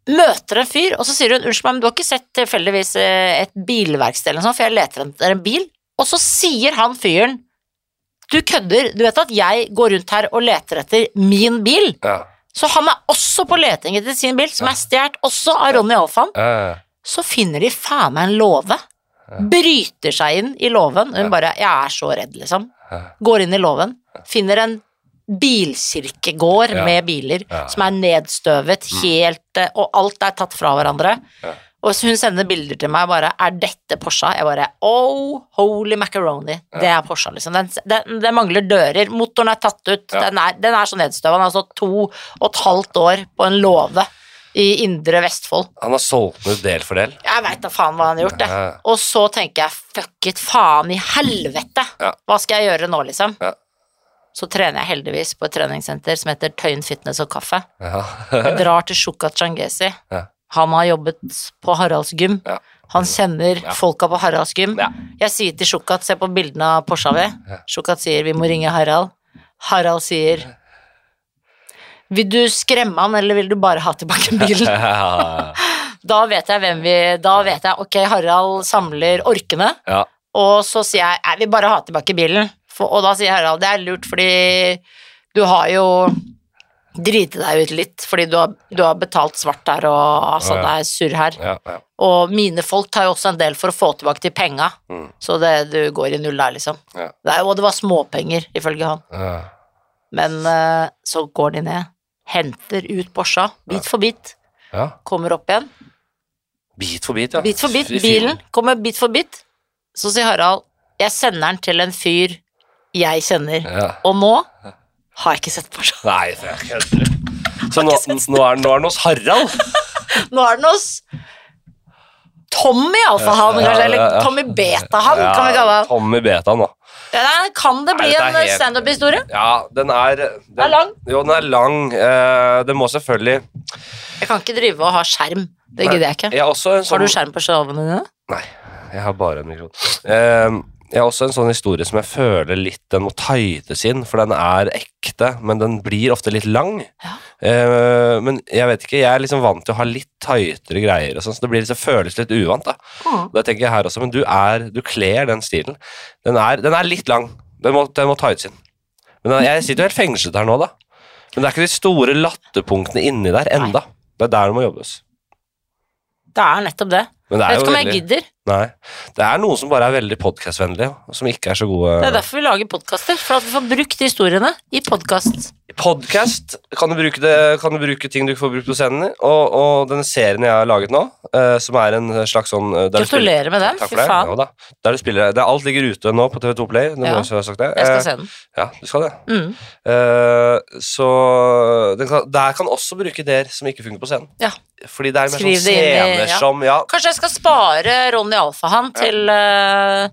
B: Møter en fyr, og så sier hun 'unnskyld meg, men du har ikke sett tilfeldigvis eh, et bilverksted eller noe sånt, for jeg leter etter en bil', og så sier han fyren 'du kødder, du vet at jeg går rundt her og leter etter min bil',
A: Ja.
B: så han er også på leting etter sin bil, som er stjålet også av Ronny Alfan.
A: Ja, ja, ja.
B: Så finner de faen meg en låve. Bryter seg inn i låven. Hun bare 'Jeg er så redd', liksom.
A: Ja.
B: Går inn i låven. Finner en bilkirkegård
A: Ja.
B: med biler
A: Ja. Mm.
B: som er nedstøvet helt eh, Og alt er tatt fra hverandre.
A: Ja.
B: Og så hun sender bilder til meg bare 'Er dette Porscha?' Jeg bare 'Oh, holy macaroni'. Det er Porscha, liksom. Den, den, den mangler dører. Motoren er tatt ut.
A: Ja.
B: Den, er, den er så nedstøva. Den har stått to og et halvt år på en låve i indre Vestfold.
A: Han har solgt den ut del for del.
B: Jeg veit da faen hva han har gjort, det.
A: Ja.
B: Og så tenker jeg fuck it, faen i helvete!
A: Ja.
B: Hva skal jeg gjøre nå, liksom?
A: Ja.
B: Så trener jeg heldigvis på et treningssenter som heter Tøyen Fitness og Kaffe.
A: Ja.
B: Jeg drar til Shukat Changesi.
A: Ja.
B: Han har jobbet på Haralds gym.
A: Ja.
B: Han kjenner
A: Ja.
B: folka på Haralds gym.
A: Ja.
B: Jeg sier til Shukat, se på bildene av Porscha vi.
A: Ja.
B: Shukat sier vi må ringe Harald. Harald sier vil du skremme han, eller vil du bare ha tilbake bilen? Da vet jeg hvem vi Da vet jeg, ok, Harald samler orkene.
A: Ja.
B: Og så sier jeg jeg vil bare ha tilbake bilen. For, og da sier Harald det er lurt, fordi du har jo driti deg ut litt, fordi du har, du har betalt svart her og har satt
A: Ja, ja.
B: deg surr her.
A: Ja, ja.
B: Og mine folk tar jo også en del for å få tilbake de penga,
A: Mm.
B: så det, du går i null der, liksom.
A: Ja.
B: Det er, jo- og det var småpenger, ifølge han.
A: Ja.
B: Men eh, så går de ned, henter ut Porscha, bit for bit,
A: Ja.
B: kommer opp igjen.
A: Bit for bit, ja.
B: Bit for bit.
A: Fy-
B: Bilen kommer bit for bit. Så sier Harald, jeg sender den til en fyr jeg kjenner.
A: Ja.
B: Og nå har jeg ikke sett på seg.
A: Nei, for jeg kødder. Så nå, nå, er, nå er den hos Harald?
B: Nå er den hos Tommy Alfahan,
A: Ja, ja,
B: kanskje.
A: ja, ja.
B: Eller Tommy Betahan,
A: Ja,
B: kan vi kalle han.
A: Tommy Betaen, da.
B: Nei, Kan det bli
A: Nei, dette er
B: en
A: helt-
B: standup-historie?
A: Ja, den er Den
B: er lang.
A: Jo, den er lang. Eh, det må selvfølgelig
B: Jeg kan ikke drive og ha skjerm. Det gidder jeg ikke.
A: Jeg har også en sånn
B: Har du skjerm på showene dine?
A: Nei, jeg har bare en mikrofon. Eh, jeg har også en sånn historie som jeg føler litt den må tides inn, for den er ekte, men den blir ofte litt lang. Eh, men jeg vet ikke, jeg er liksom vant til å ha litt tightere greier, og sånn, så det blir liksom, føles litt uvant. da.
B: Mm.
A: Det tenker jeg her også, men du er, du kler den stilen. Den er, den er litt lang, den må, den må tides inn. Men jeg sitter jo helt fengslet her nå, da. Men det er ikke de store latterpunktene inni der enda. Det er der det må jobbes.
B: Det er nettopp det.
A: Men det
B: Jeg
A: er
B: vet
A: jo
B: ikke om jeg
A: veldig-
B: gidder.
A: Nei. Det er noen som bare er veldig podkastvennlige, og som ikke er så
B: Det er
A: gode.
B: derfor vi lager podkaster. For at vi får brukt de historiene i podkast.
A: Podkast kan, du bruke det- kan du bruke ting du ikke får brukt på scenen. Og, og den serien jeg har laget nå, eh, som er en slags sånn eh, der du spiller-
B: Gratulerer med den.
A: Takk
B: Fy
A: for det.
B: faen.
A: Jo da. Der du spiller, det, alt ligger ute nå på TV2 Play. Det må
B: Ja.
A: jeg også ha sagt det.
B: Jeg skal
A: Eh,
B: se den.
A: Ja, du skal det.
B: Mm.
A: Eh, så den kan, der kan også bruke ideer som ikke funker på scenen.
B: Ja.
A: Fordi det er mer
B: Skriv
A: sånn
B: det inn i-
A: scener
B: ja.
A: som Ja,
B: Kanskje jeg skal spare Ronny Alfahan til eh,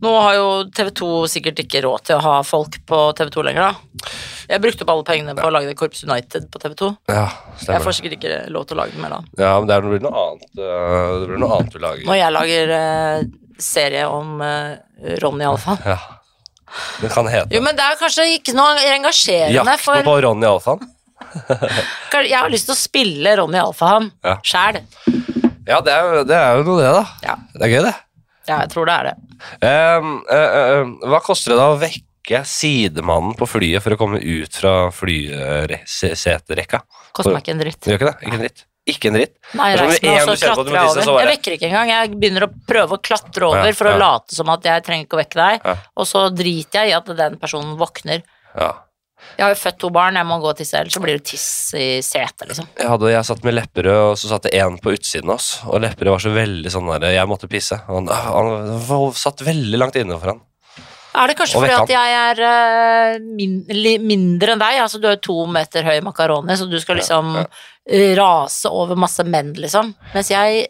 B: Nå har jo TV 2 sikkert ikke råd til å ha folk på TV 2 lenger, da. Jeg brukte opp alle pengene på å lage det Korps United på TV 2.
A: ja
B: Jeg
A: stemmer.
B: får sikkert ikke lov til å lage det mer da.
A: Ja, men det er- det blir noe annet eh, Det blir noe annet du lager.
B: Når jeg lager eh, serie om eh, Ronny Alfahan.
A: Ja. Den kan hete
B: Jo, men det er kanskje ikke noe engasjerende,
A: Jakten
B: for
A: på Ronny Alfan.
B: jeg har lyst til å spille Ronny Alfahan
A: Ja.
B: sjæl.
A: Ja, det er, det er jo noe det, da.
B: Ja.
A: Det er gøy, det.
B: Ja, jeg tror det er det.
A: Ehm, eh, eh, eh, hva koster det da å vekke sidemannen på flyet for å komme ut fra flyseterekka?
B: Koster meg ikke en dritt.
A: Gjør ikke det? Ikke en dritt. Ikke en dritt.
B: Nei,
A: Det er som
B: reisen
A: med en
B: er
A: du
B: også
A: kjenner på at du må
B: klatre
A: tisse,
B: over.
A: så bare-
B: Jeg vekker ikke engang. Jeg begynner å prøve å klatre over
A: Ja,
B: for å
A: ja.
B: late som at jeg trenger ikke å vekke deg,
A: Ja.
B: og så driter jeg i at den personen våkner.
A: Ja.
B: Jeg har jo født to barn, jeg må gå og tisse, ellers så blir det tiss i setet, liksom.
A: Jeg, hadde, jeg satt med Lepperød, og så satt det en på utsiden av oss. Og Lepperød var så veldig sånn der Jeg måtte pisse. Han, han var- satt veldig langt inne for han.
B: Er det kanskje
A: Og
B: fordi
A: vekke
B: at jeg er eh, min, li, mindre enn deg? Altså, du er jo to meter høy makaroni, så du skal liksom
A: ja.
B: eh, rase over masse menn, liksom. Mens jeg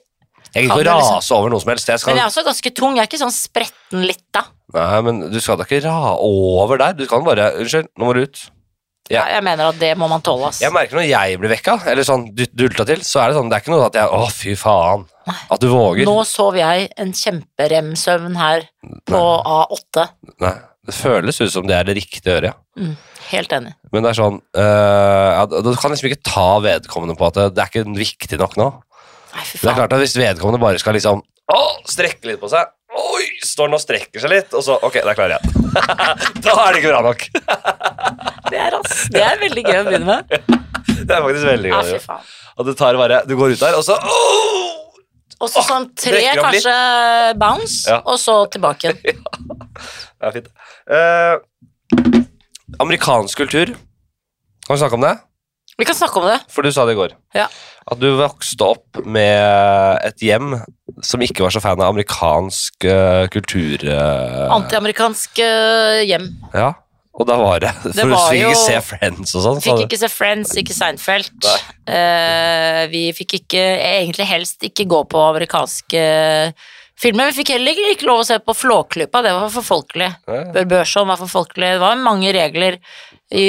A: Jeg kan ikke
B: Kan du liksom-
A: rase over noe som helst. Jeg skal,
B: Men jeg er også ganske tung. Jeg er ikke sånn spretten litt, da.
A: Nei, men du skal da ikke ra over der. Du kan bare Unnskyld, nå må du ut. Ja.
B: Jeg mener at det må man tåle, ass.
A: Jeg merker når jeg blir vekka, eller sånn du- dulta til, så er det sånn Det er ikke noe at jeg Å, fy faen. At du våger.
B: Nå sov jeg en kjemperemsøvn her på A8.
A: Nei. Det føles ut som det er det riktige å gjøre, ja.
B: Mm, helt enig.
A: Men det er sånn øh, ja, Du kan liksom ikke ta vedkommende på at det, det er ikke viktig nok nå.
B: Nei, fy
A: Det er
B: faen.
A: klart at Hvis vedkommende bare skal liksom å, strekke litt på seg Oi, Står den og strekker seg litt, og så Ok, der klarer jeg Da er det ikke bra nok.
B: Det er, ass. Det er veldig gøy å begynne med.
A: Det er faktisk veldig
B: Ja,
A: gøy.
B: fy faen.
A: At du tar bare Du går ut der, og så «Åh!»
B: Og så sånn tre,
A: brekker opp litt.
B: kanskje bounce,
A: Ja.
B: og så tilbake igjen.
A: Det er fint. Eh, amerikansk kultur. Kan vi snakke om det?
B: Vi kan snakke om det.
A: For du sa det i går.
B: Ja.
A: At du vokste opp med et hjem som ikke var så fan av amerikansk eh, kultur. eh,
B: Antiamerikansk eh, hjem.
A: ja. Og da var det. For du
B: var
A: fikk
B: jo-
A: ikke se Friends og sånn. sa du.
B: Fikk ikke se Friends, ikke Seinfeld.
A: Nei.
B: Eh, vi fikk ikke, egentlig helst ikke gå på amerikanske filmer. Vi fikk heller ikke lov å se på Flåklypa, det var for folkelig.
A: Ja,
B: Bør Børson var for folkelig. Det var mange regler i,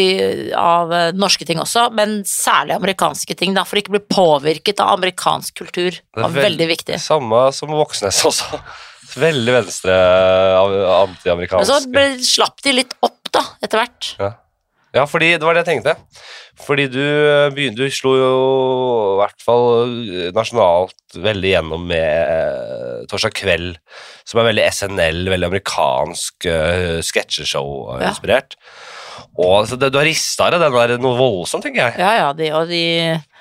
B: av eh, norske ting også, men særlig amerikanske ting, da, for ikke å bli påvirket av amerikansk kultur.
A: er
B: var
A: veld-
B: veldig viktig.
A: Samme som Voksnes også. Veldig venstre av-
B: Men så
A: antiamerikansk.
B: ble, slapp de litt opp, da, etter hvert.
A: Ja, fordi det var det jeg tenkte. Fordi du eh, begynte, du slo jo i hvert fall eh, nasjonalt veldig gjennom med eh, Torsdag kveld, som er veldig SNL, veldig amerikansk eh,
B: Ja.
A: sketsjeshow-inspirert. Og så det, Du har rista deg den der noe voldsomt, tenker jeg.
B: Ja ja, de, og de,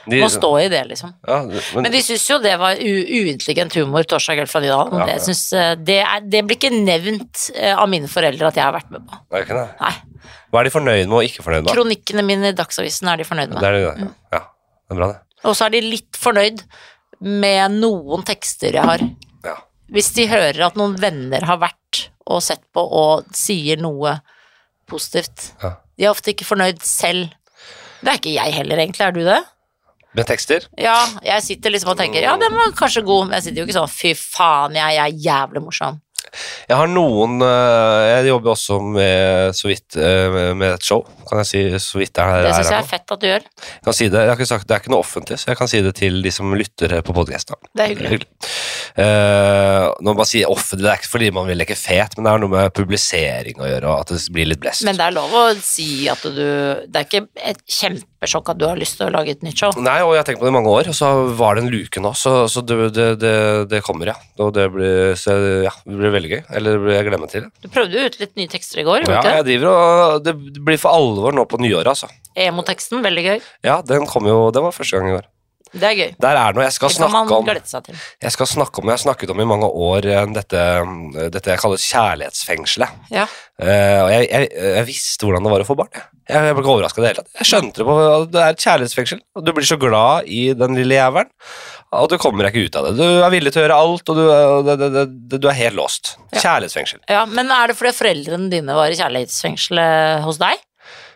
A: De-
B: må stå i det, liksom.
A: Ja, men,
B: Men de syns jo det var u- uintelligent humor, torsdag kveld fra Nydalen.
A: Ja,
B: Det,
A: ja.
B: syns, eh, det, er, det blir ikke nevnt eh, av mine foreldre at jeg har vært med på.
A: Det er ikke det.
B: Nei.
A: Hva er de fornøyd med og ikke fornøyd med?
B: Kronikkene mine i Dagsavisen er de fornøyd
A: Det
B: med.
A: er det, Mm. ja. ja. Det er bra, det.
B: Og så er de litt fornøyd med noen tekster jeg har.
A: Ja.
B: Hvis de hører at noen venner har vært og sett på og sier noe positivt.
A: Ja.
B: De er ofte ikke fornøyd selv. Det er ikke jeg heller, egentlig. Er du det?
A: Med tekster?
B: Ja, jeg sitter liksom og tenker ja, den var kanskje god, men jeg sitter jo ikke sånn fy faen, jeg, jeg er jævlig morsom.
A: Jeg har noen øh, Jeg jobber også med så vidt øh, med et show, kan jeg si. så vidt det er
B: Det
A: her
B: syns jeg
A: nå.
B: er fett at du gjør.
A: Jeg kan si det. Jeg har ikke sagt, det er ikke noe offentlig, så jeg kan si det til de som lytter på podkasten.
B: Det er hyggelig.
A: når man sier offentlig, det er ikke fordi man vil leke fet, men det har noe med publisering å gjøre, og at det blir litt blest.
B: Men det er lov å si at du Det er ikke et kjempesjokk at du har lyst til å lage et nytt show.
A: Nei, og jeg har tenkt på det i mange år, og så var det en luke nå, så, så det, det, det, det kommer, ja. Og det blir, så, ja, det blir veldig gøy. Eller det blir- jeg glemmer til det.
B: Du prøvde jo ut litt nye tekster i går,
A: Ja,
B: gjorde du ikke?
A: jeg driver og Det blir for alvor nå på nyåret, altså.
B: Emoteksten, veldig gøy.
A: Ja, den kom jo Den var første gang i år.
B: Det er gøy.
A: Der er noe jeg skal
B: Det kan
A: snakke
B: man
A: om.
B: glede seg til.
A: Jeg skal snakke om, jeg har snakket om i mange år eh, dette, dette jeg kaller kjærlighetsfengselet.
B: Ja.
A: Eh, og jeg, jeg, jeg visste hvordan det var å få barn. Jeg, jeg jeg ble ikke overraska i det hele tatt. Jeg skjønte det på at det er et kjærlighetsfengsel. Og du blir så glad i den lille jævelen at du kommer deg ikke ut av det. Du er villig til å gjøre alt, og du, er- og det, det, det, det, du er helt låst.
B: Ja.
A: Kjærlighetsfengsel.
B: ja, Men er det fordi foreldrene dine var i kjærlighetsfengselet hos deg?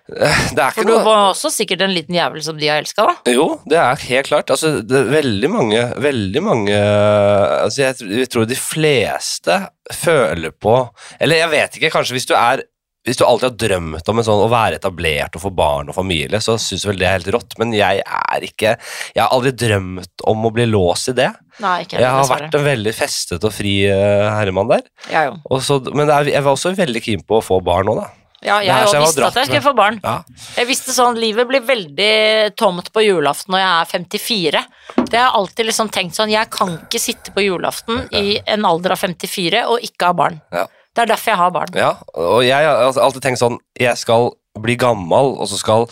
A: Det er
B: For
A: ikke
B: du
A: noe
B: var også sikkert en liten jævel som de har elska, da.
A: Jo, det er helt klart. Altså, det er veldig mange, veldig mange altså, jeg, tr- jeg tror de fleste føler på Eller jeg vet ikke, kanskje hvis du er hvis du alltid har drømt om en sånn å være etablert og få barn og familie, så syns du vel det er helt rått, men jeg er ikke Jeg har aldri drømt om å bli låst i det.
B: Nei, ikke
A: Jeg
B: heller,
A: har
B: dessverre.
A: vært en veldig festet og fri eh, herremann der.
B: Jeg jo.
A: Og så, men det er, jeg var også veldig keen på å få barn nå, da.
B: Ja,
A: Det her
B: jeg
A: skal
B: òg
A: jeg
B: visste
A: ha dratt
B: at jeg skulle
A: med.
B: få barn.
A: Ja.
B: Jeg visste sånn, Livet blir veldig tomt på julaften når jeg er 54. Det har jeg alltid liksom tenkt sånn, jeg kan ikke sitte på julaften i en alder av 54 og ikke ha barn.
A: Ja.
B: Det er derfor jeg har barn.
A: Ja, og jeg har altså alltid tenkt sånn Jeg skal bli gammel, og så skal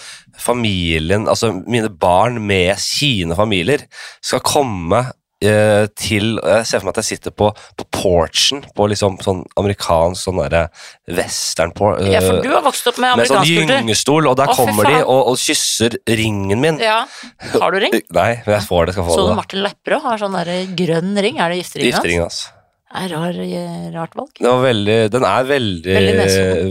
A: familien, altså mine barn med sine familier, skal komme eh, til og Jeg ser for meg at jeg sitter på, på porchen på liksom sånn amerikansk sånn derre western por... eh,
B: Ja, for du har vokst opp med
A: med sånn
B: amerikansk kultur.
A: gyngestol, og der
B: Å, fy
A: kommer de
B: faen.
A: og, og kysser ringen min.
B: Ja. Har du ring?
A: Nei, men jeg får det. Skal få
B: Så du
A: det. da.
B: Martin Lepperød har sånn der grønn ring? Er det gifteringen hans?
A: Gifteringen, altså.
B: Er rar, eh, rart valg.
A: Det var veldig, den er veldig,
B: Veldig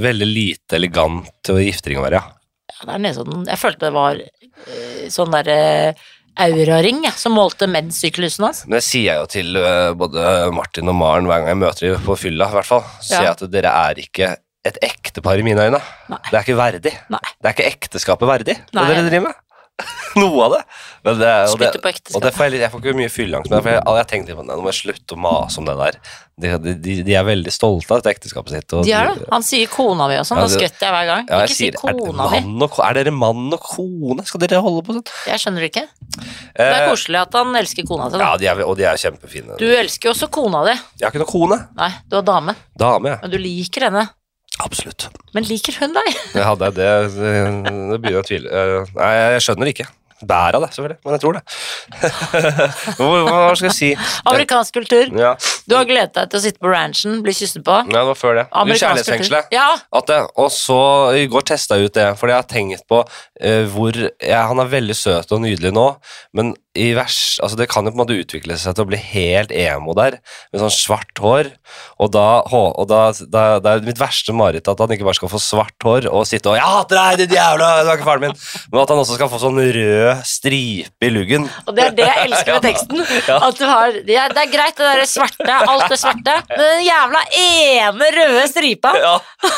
A: veldig,
B: nesen.
A: lite elegant til å giftering å være, ja.
B: Ja, det er Nesodden. Jeg følte det var eh, sånn der eh, auraring jeg, som målte menssyklusen hans.
A: Men det sier jeg jo til øh, både Martin og Maren hver gang jeg møter dem på fylla, i hvert fall. Så sier jeg
B: Ja.
A: at dere er ikke et ektepar i mine øyne.
B: Nei.
A: Det er ikke verdig.
B: Nei.
A: Det er ikke ekteskapet verdig,
B: Nei.
A: det dere driver med. Noe av det. Men det og det,
B: Slutte på
A: og det
B: ekteskap.
A: får jeg, litt- jeg får ikke mye fylleangst med det, for jeg, jeg tenkte litt på det. Nå må jeg slutte å mase om det der. De, de- de, de er veldig stolte av dette ekteskapet sitt. og
B: De er det. Han sier kona mi og sånn,
A: Ja,
B: da
A: det-
B: skvetter jeg hver gang.
A: Ja, jeg
B: ikke si
A: sier, er, det
B: kona mi.
A: mann og, ko- er dere mann og kone? Skal dere holde på sånn?
B: Jeg skjønner det ikke. Det er
A: Eh,
B: koselig at han elsker kona si.
A: ja,
B: da.
A: de er, og de er kjempefine.
B: Du elsker jo også kona di.
A: Jeg har ikke noen kone.
B: Nei, du er dame,
A: Dame, jeg.
B: men du liker henne.
A: Absolutt.
B: Men liker hun deg?
A: Det hadde jeg, det, det, det begynner jeg å tvile Eh, Nei, jeg skjønner det ikke. Bæra det, selvfølgelig, men jeg tror det. hva, hva hva skal jeg si?
B: Amerikansk kultur.
A: Ja,
B: Du har gledet deg til å sitte på ranchen, bli kysset på.
A: ja, det var før det. I
B: Amerikansk kultur.
A: kjærlighetsfengselet.
B: Ja,
A: At det, og så i går testa jeg ut det, fordi jeg har tenkt på eh, hvor ja, Han er veldig søt og nydelig nå, men i vers altså Det kan jo på en måte utvikle seg til å bli helt emo der, med sånn svart hår. Og da, hå, og da, da Det er mitt verste mareritt at han ikke bare skal få svart hår og sitte og 'Jeg hater deg, ditt jævla Du er ikke faren min!' Men at han også skal få sånn rød stripe i luggen.
B: og det er det jeg elsker med teksten. At du har, det, er, det er greit, det der svarte, alt det svarte. Men den jævla ene røde stripa
A: Ja,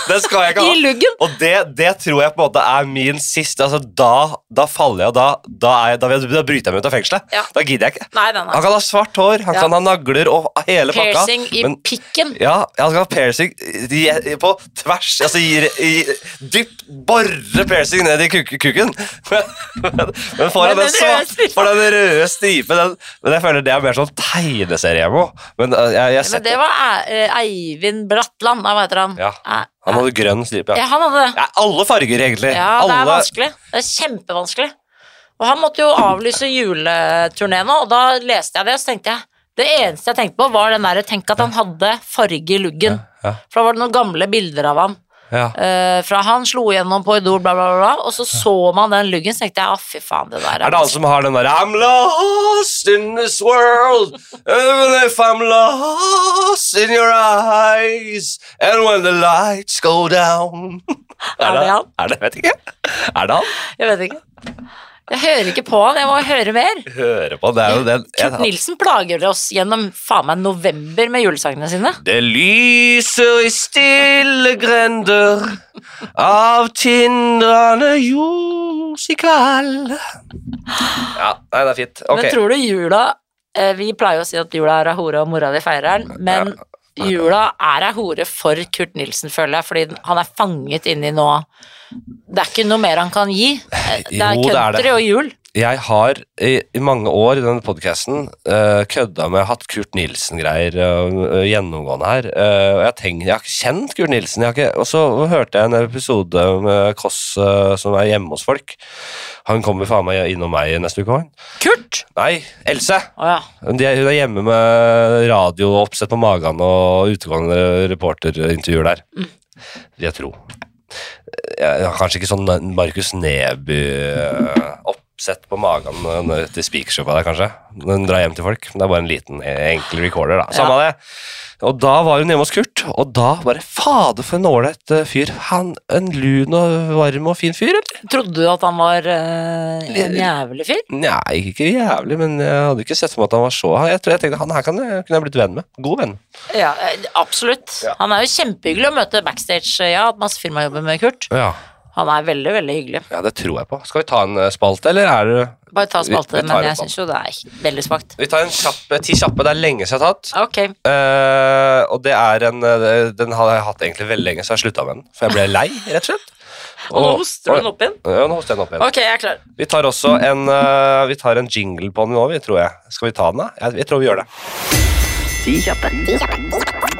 A: det skal jeg ikke
B: i
A: ha.
B: luggen.
A: Og det, det tror jeg på en måte er min siste altså Da, da faller jeg, og da, da, er jeg, da, vil jeg- da bryter jeg meg ut av fengselet.
B: Ja.
A: Da gidder jeg ikke.
B: Nei, nei, nei.
A: Han kan ha svart hår, han
B: Ja.
A: kan ha nagler og hele pakka.
B: Piercing i
A: men-
B: pikken.
A: Ja, han skal ha piercing i- i- på tvers. Altså i, i, dypt borre piercing ned i kuk kuken. Men, men, men foran
B: Men
A: den,
B: den røde
A: svarte,
B: stripa.
A: foran den røde stripen den, Men jeg føler det er mer sånn tegneserie-emo. Men eh, jeg, jeg
B: Men
A: setter,
B: det var eh, Eivind Bratland, nei, hva heter han?
A: Ja.
B: Eh,
A: Han hadde grønn stripe.
B: ja,
A: Ja.
B: han hadde det.
A: Ja, alle farger, egentlig.
B: Ja, det er
A: alle,
B: vanskelig. Det er kjempevanskelig. Og han måtte jo avlyse juleturné nå, og da leste jeg det, og så tenkte jeg Det eneste jeg tenkte på, var den derre Tenk at han hadde farge i luggen.
A: Ja, ja.
B: For da var det noen gamle bilder av ham.
A: ja.
B: eh, fra han slo gjennom på Idol, bla, bla, bla, bla, og så så man den luggen, så tenkte jeg å, fy faen, det der
A: Er det altså- han som har den der I'm lost in this world Even if I'm lost in your eyes And when the lights go down
B: Er det han?
A: Er det, vet ikke Er det han?
B: Jeg vet ikke. Jeg hører ikke på han, jeg må høre mer.
A: Hører på, det er jo den
B: Kurt Nilsen plager oss gjennom faen meg november med julesangene sine.
A: Det lyser i stille grender Av tindrende jords i kveld Ja, nei, det er fint Ok,
B: Men tror du jula eh, Vi pleier jo å si at jula er ei hore, og mora di feirer den, men jula er ei hore for Kurt Nilsen, føler jeg, fordi han er fanget inni nå. Det er ikke noe mer han kan gi. Eh, Det er
A: Jo, det er det.
B: country og jul.
A: jeg har i, i mange år i denne podcasten eh, kødda med hatt Kurt Nilsen-greier eh, gjennomgående her. Eh, og jeg, har tenkt, jeg har ikke kjent Kurt Nilsen. Jeg har ikke, og så hørte jeg en episode med Kåss eh, som er hjemme hos folk. Han kommer faen meg innom meg neste uke. han.
B: Kurt!
A: Nei, Else!
B: Å ja.
A: De er, hun er hjemme med radiooppsett på magen og utegående reporterintervjuer der. Vil jeg tro. Jeg har kanskje ikke sånn Markus Neby-oppsett på magen når- til speakershowa der, kanskje. Når hun drar hjem til folk. Det er bare en liten, eh, enkel recorder, da. Samme det. Og da var hun hjemme hos Kurt, og da bare Fader, for en ålreit eh, fyr. Han, en lun og varm og fin fyr, eller?
B: Trodde du at han var eh, en jævlig fyr?
A: Nei, ikke jævlig, men jeg hadde ikke sett for meg at han var så Jeg tror jeg tenkte han her kan, jeg- kunne jeg blitt venn med. God venn.
B: Ja, eh, absolutt.
A: Ja.
B: eh, Han er jo kjempehyggelig å møte backstage. Ja, hatt masse firmajobber med Kurt.
A: Ja.
B: Han er veldig, veldig hyggelig.
A: Ja, det tror jeg på. Skal vi ta en eh, spalte, eller er det
B: Bare ta
A: Vi- vi
B: spalte,
A: tar
B: men jeg
A: en
B: syns jo det er veldig svakt.
A: Vi tar en kjapp, eh, ti kjappe. Det er lenge siden jeg har tatt.
B: Ok.
A: Eh, og det er en eh, Den har jeg hatt egentlig veldig lenge, så jeg slutta med den. For jeg ble lei, rett og slett.
B: Og nå hoster du den opp igjen.
A: Ja, nå hoster jeg den opp igjen.
B: Ok, jeg er klar.
A: Vi tar også en, eh, vi tar en jingle på den nå, vi, tror jeg. Skal vi ta den, da? Jeg, jeg tror vi gjør det.
C: Ti kjappe.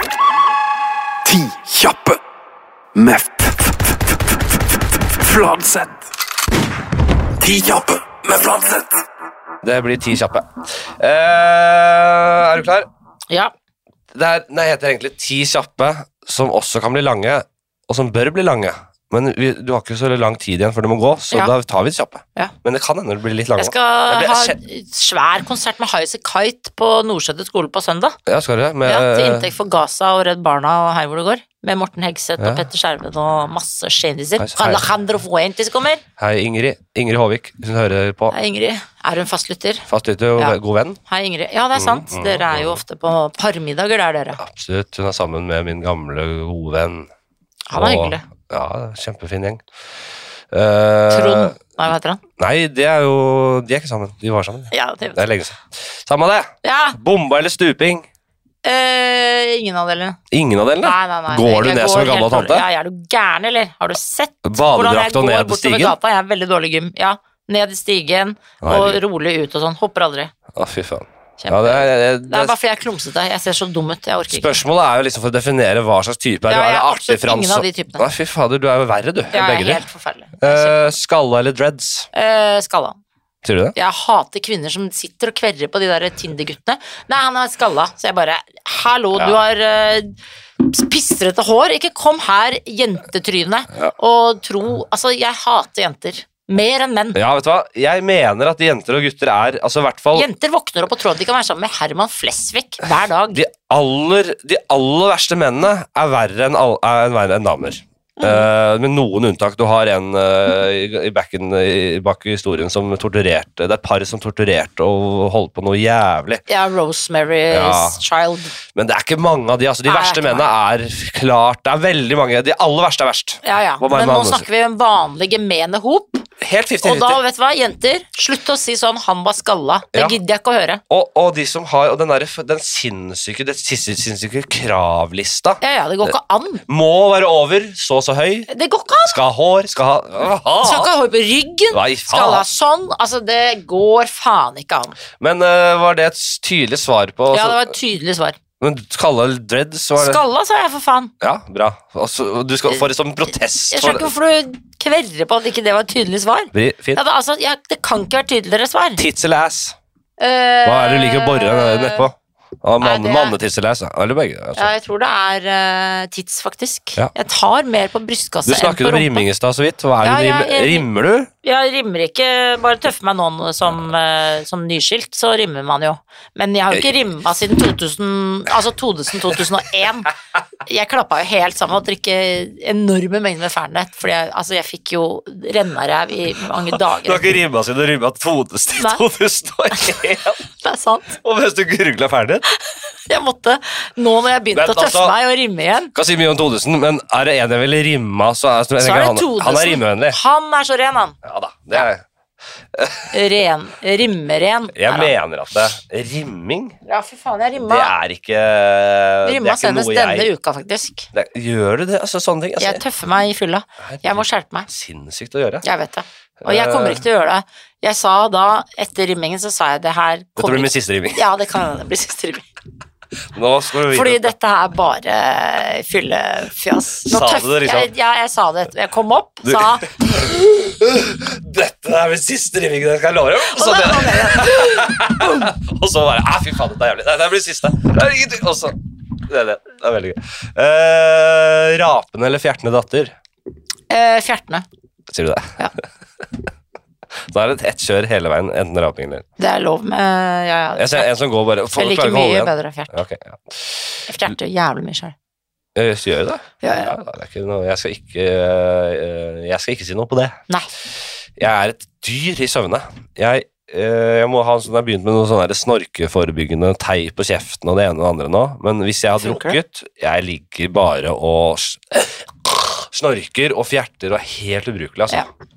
D: Ti kjappe med f- f- f- f- f- f- Fladseth. Ti kjappe med Fladseth.
A: Det blir ti kjappe. Eh, er du klar?
B: Ja.
A: Det, er, det heter egentlig ti kjappe, som også kan bli lange, og som bør bli lange. Men vi, du har ikke så lang tid igjen før du må gå, så
B: Ja.
A: da tar vi de kjappe.
B: Ja.
A: Men det kan hende det blir litt lange.
B: Jeg
A: Jeg
B: skal
A: ble-
B: ha
A: jeg
B: svær konsert med Highasakite Kite på Nordsjødet skole på søndag.
A: Ja, skal du det? Med,
B: Ja, til
A: eh,
B: inntekt for Gaza og Redd Barna og her hvor det går. Med Morten Hegseth
A: Ja.
B: og Petter Skjerven og masse kjendiser.
A: Hei, hei.
B: Alejandro Fuentes kommer.
A: Hei, Ingrid. Ingrid Håvik. Hun hører på.
B: Hei, Ingrid. Er hun fastlytter?
A: Fast ute og
B: Ja.
A: god venn.
B: Hei, Ingrid. Ja, det er sant.
A: Mm,
B: Dere er jo ofte på parmiddager der, dere.
A: Absolutt. Hun er sammen med min gamle gode venn.
B: Han er
A: Og-
B: hyggelig.
A: Ja, kjempefin gjeng. Eh,
B: Trond. Nei, hva heter han?
A: Nei, det er jo De er ikke sammen. De var sammen.
B: Ja, det
A: Det er lenge siden. Samme det.
B: ja.
A: Bomba eller stuping?
B: eh, ingen av delene.
A: Ingen av delene.
B: Nei, nei, nei.
A: Går du
B: Jeg
A: ned som en
B: helt
A: gammel
B: dårlig.
A: tante?
B: Ja, er du gæren, eller? Har du sett hvordan jeg
A: Badedrakt og
B: går
A: ned
B: bortover
A: stigen?
B: gata? Jeg er veldig dårlig i gym. Ja, ned i stigen og
A: Herregud.
B: rolig ut og sånn. Hopper aldri.
A: Å, fy faen.
B: Kjempe.
A: Ja, det er,
B: Det er
A: det,
B: bare fordi jeg er klumsete. Jeg ser så dum ut. Jeg orker ikke.
A: spørsmålet er jo liksom for å definere hva slags type er du.
B: Ja,
A: Er
B: jeg
A: det
B: er
A: artig
B: absolutt ingen
A: frans?
B: av de typene.
A: Nei, fy fader, du er jo verre, du. enn
B: Jeg
A: Begge
B: er
A: de.
B: helt forferdelig.
A: Eh, skalla eller dreads?
B: Eh, skalla.
A: Sier du det?
B: Jeg hater kvinner som sitter og kverrer på de der Tinder-guttene. Nei, han er skalla. Så jeg bare Hallo,
A: Ja.
B: du har uh, pistrete hår. Ikke kom her, jentetryne, og tro Altså, jeg hater jenter. Mer enn menn.
A: Ja, vet du hva? Jeg mener at jenter og gutter er Altså, i hvert fall
B: Jenter våkner opp og tror at de kan være sammen med Herman Flesvig hver dag.
A: de aller, de aller verste mennene er verre enn, all, er verre enn damer.
B: Mm.
A: Eh, med noen unntak. Du har en eh, i, i backen, i, bak i historien som torturerte Det er et par som torturerte og holdt på noe jævlig.
B: Ja, Rosemary's
A: Ja.
B: Child.
A: Men det er ikke mange av de. altså De
B: Nei,
A: verste
B: det er ikke
A: mennene er klart Det er veldig mange. De aller verste er verst.
B: Ja, ja.
A: Hva var det
B: Men
A: med
B: nå
A: Andersen?
B: snakker vi om vanlige gemene hop.
A: Helt
B: Og da,
A: 50-50.
B: vet du hva, jenter, slutt å si sånn 'han var skalla'. Det
A: Ja.
B: gidder jeg ikke å høre.
A: Og, og de som har og den, der, den sinnssyke, det sinnssyke sinnssyke kravlista
B: Ja, ja, det går ikke an.
A: må være over så så høy.
B: Det går ikke an!
A: Skal ha hår, skal ha,
B: Skal ikke ha hår på ryggen,
A: Nei,
B: skal
A: faen.
B: ha sånn. Altså, det går faen ikke an.
A: Men eh, var det et s- tydelig svar på
B: Ja, det var et tydelig svar.
A: Men skalla eller dreads var det
B: Skalla, sa jeg, for faen.
A: Ja, bra. Altså, du skal få det som en protest.
B: Jeg
A: for
B: skjønner ikke hvorfor du kverrer på at ikke det var et tydelig svar.
A: Bri, fint.
B: Ja, det, altså, jeg, det kan ikke være tydeligere svar.
A: Tits eller ass?
B: Eh,
A: Hva er det du liker å bore nedpå? Ah,
B: Nei,
A: man,
B: det er-
A: Mannetiss eller ass? ja. Eller begge?
B: Ja,
A: Altså.
B: jeg tror det er eh, tids, faktisk.
A: Ja.
B: Jeg tar mer på
A: Du
B: brystkassa enn på
A: snakket om
B: rumpa.
A: rimming i stad så vidt. Hva er
B: Ja,
A: det du
B: ja,
A: rimmer?
B: jeg-
A: rimmer du?
B: Jeg rimmer ikke, bare tøffer meg noen som, eh, som nyskilt, så rimmer man jo. Men jeg har jo ikke rimma siden 2000, altså 2000, 2001. Jeg klappa jo helt sammen og drikke enorme mengder med Fernet, fordi jeg, altså, jeg fikk jo rennaræv i mange dager.
A: ikke rimma siden du rimma
B: Nei.
A: 2001,
B: Det er sant.
A: og mens du gurgla ferdig?
B: Jeg måtte, nå når jeg begynte
A: Men
B: å tøffe
A: altså-
B: meg og rimme igjen,
A: Kan si mye om 2000, men er det en jeg ville rimma, så er, så jeg tenker
B: så er det
A: han, han er
B: 2000.
A: rimmevennlig.
B: Han er så ren, han.
A: Ja da, det er,
B: Ren, rimmeren.
A: jeg
B: er han.
A: mener at det, rimming
B: Ja, fy faen, jeg rimma.
A: Det er ikke Det
B: Rimma
A: er ikke
B: senest
A: noe
B: denne
A: jeg
B: uka, faktisk.
A: det, Gjør du det? Altså, sånne ting.
B: Jeg
A: Altså,
B: tøffer meg i fylla.
A: Herregud.
B: Jeg må skjerpe meg.
A: Sinnssykt å gjøre.
B: Jeg vet det. Og jeg kommer ikke til
A: Eh.
B: å gjøre det. Jeg sa da, etter rimmingen, så sa jeg det her
A: Dette
B: kommer
A: blir min
B: ikke-
A: siste rimming.
B: Ja, det kan hende bli siste rimming.
A: Nå skal vi
B: Fordi
A: videre.
B: dette er bare eh, fyllefjas. Nå
A: Sa du
B: tøff-
A: det, liksom?
B: Jeg, ja, jeg sa det. Jeg kom opp, sa
A: Dette er min siste rimming, det skal jeg love. deg. Så
B: Og da
A: det,
B: kom jeg igjen.
A: og så bare Æ, fy faen, dette er jævlig. Nei, det blir siste. Det er ingenting. Og så Det er det. Det er veldig gøy. Eh, rapende eller fjertende datter?
B: Eh, Fjertene.
A: Sier du det?
B: Ja.
A: Da er det ett kjør hele veien, enten raping eller
B: Det er lov med Ja, ja.
A: Jeg ser en som går bare
B: Jeg
A: Folk
B: liker
A: klarer ikke å holde
B: mye
A: igjen.
B: bedre fjert.
A: Ja, ok, ja.
B: Jeg fjerter jævlig mye sjøl.
A: Eh, så Gjør du det?
B: Ja,
A: Ja,
B: ja.
A: da, det er ikke noe, jeg, skal ikke, eh, jeg skal ikke si noe på det.
B: Nei.
A: Jeg er et dyr i søvne. Jeg, eh, jeg må ha en sånn, jeg har begynt med noe sånn der snorkeforebyggende teip på kjeften og det ene og det andre nå. Men hvis jeg har
B: Funker
A: drukket Jeg ligger bare og s- snorker og fjerter og er helt ubrukelig, altså. Ja.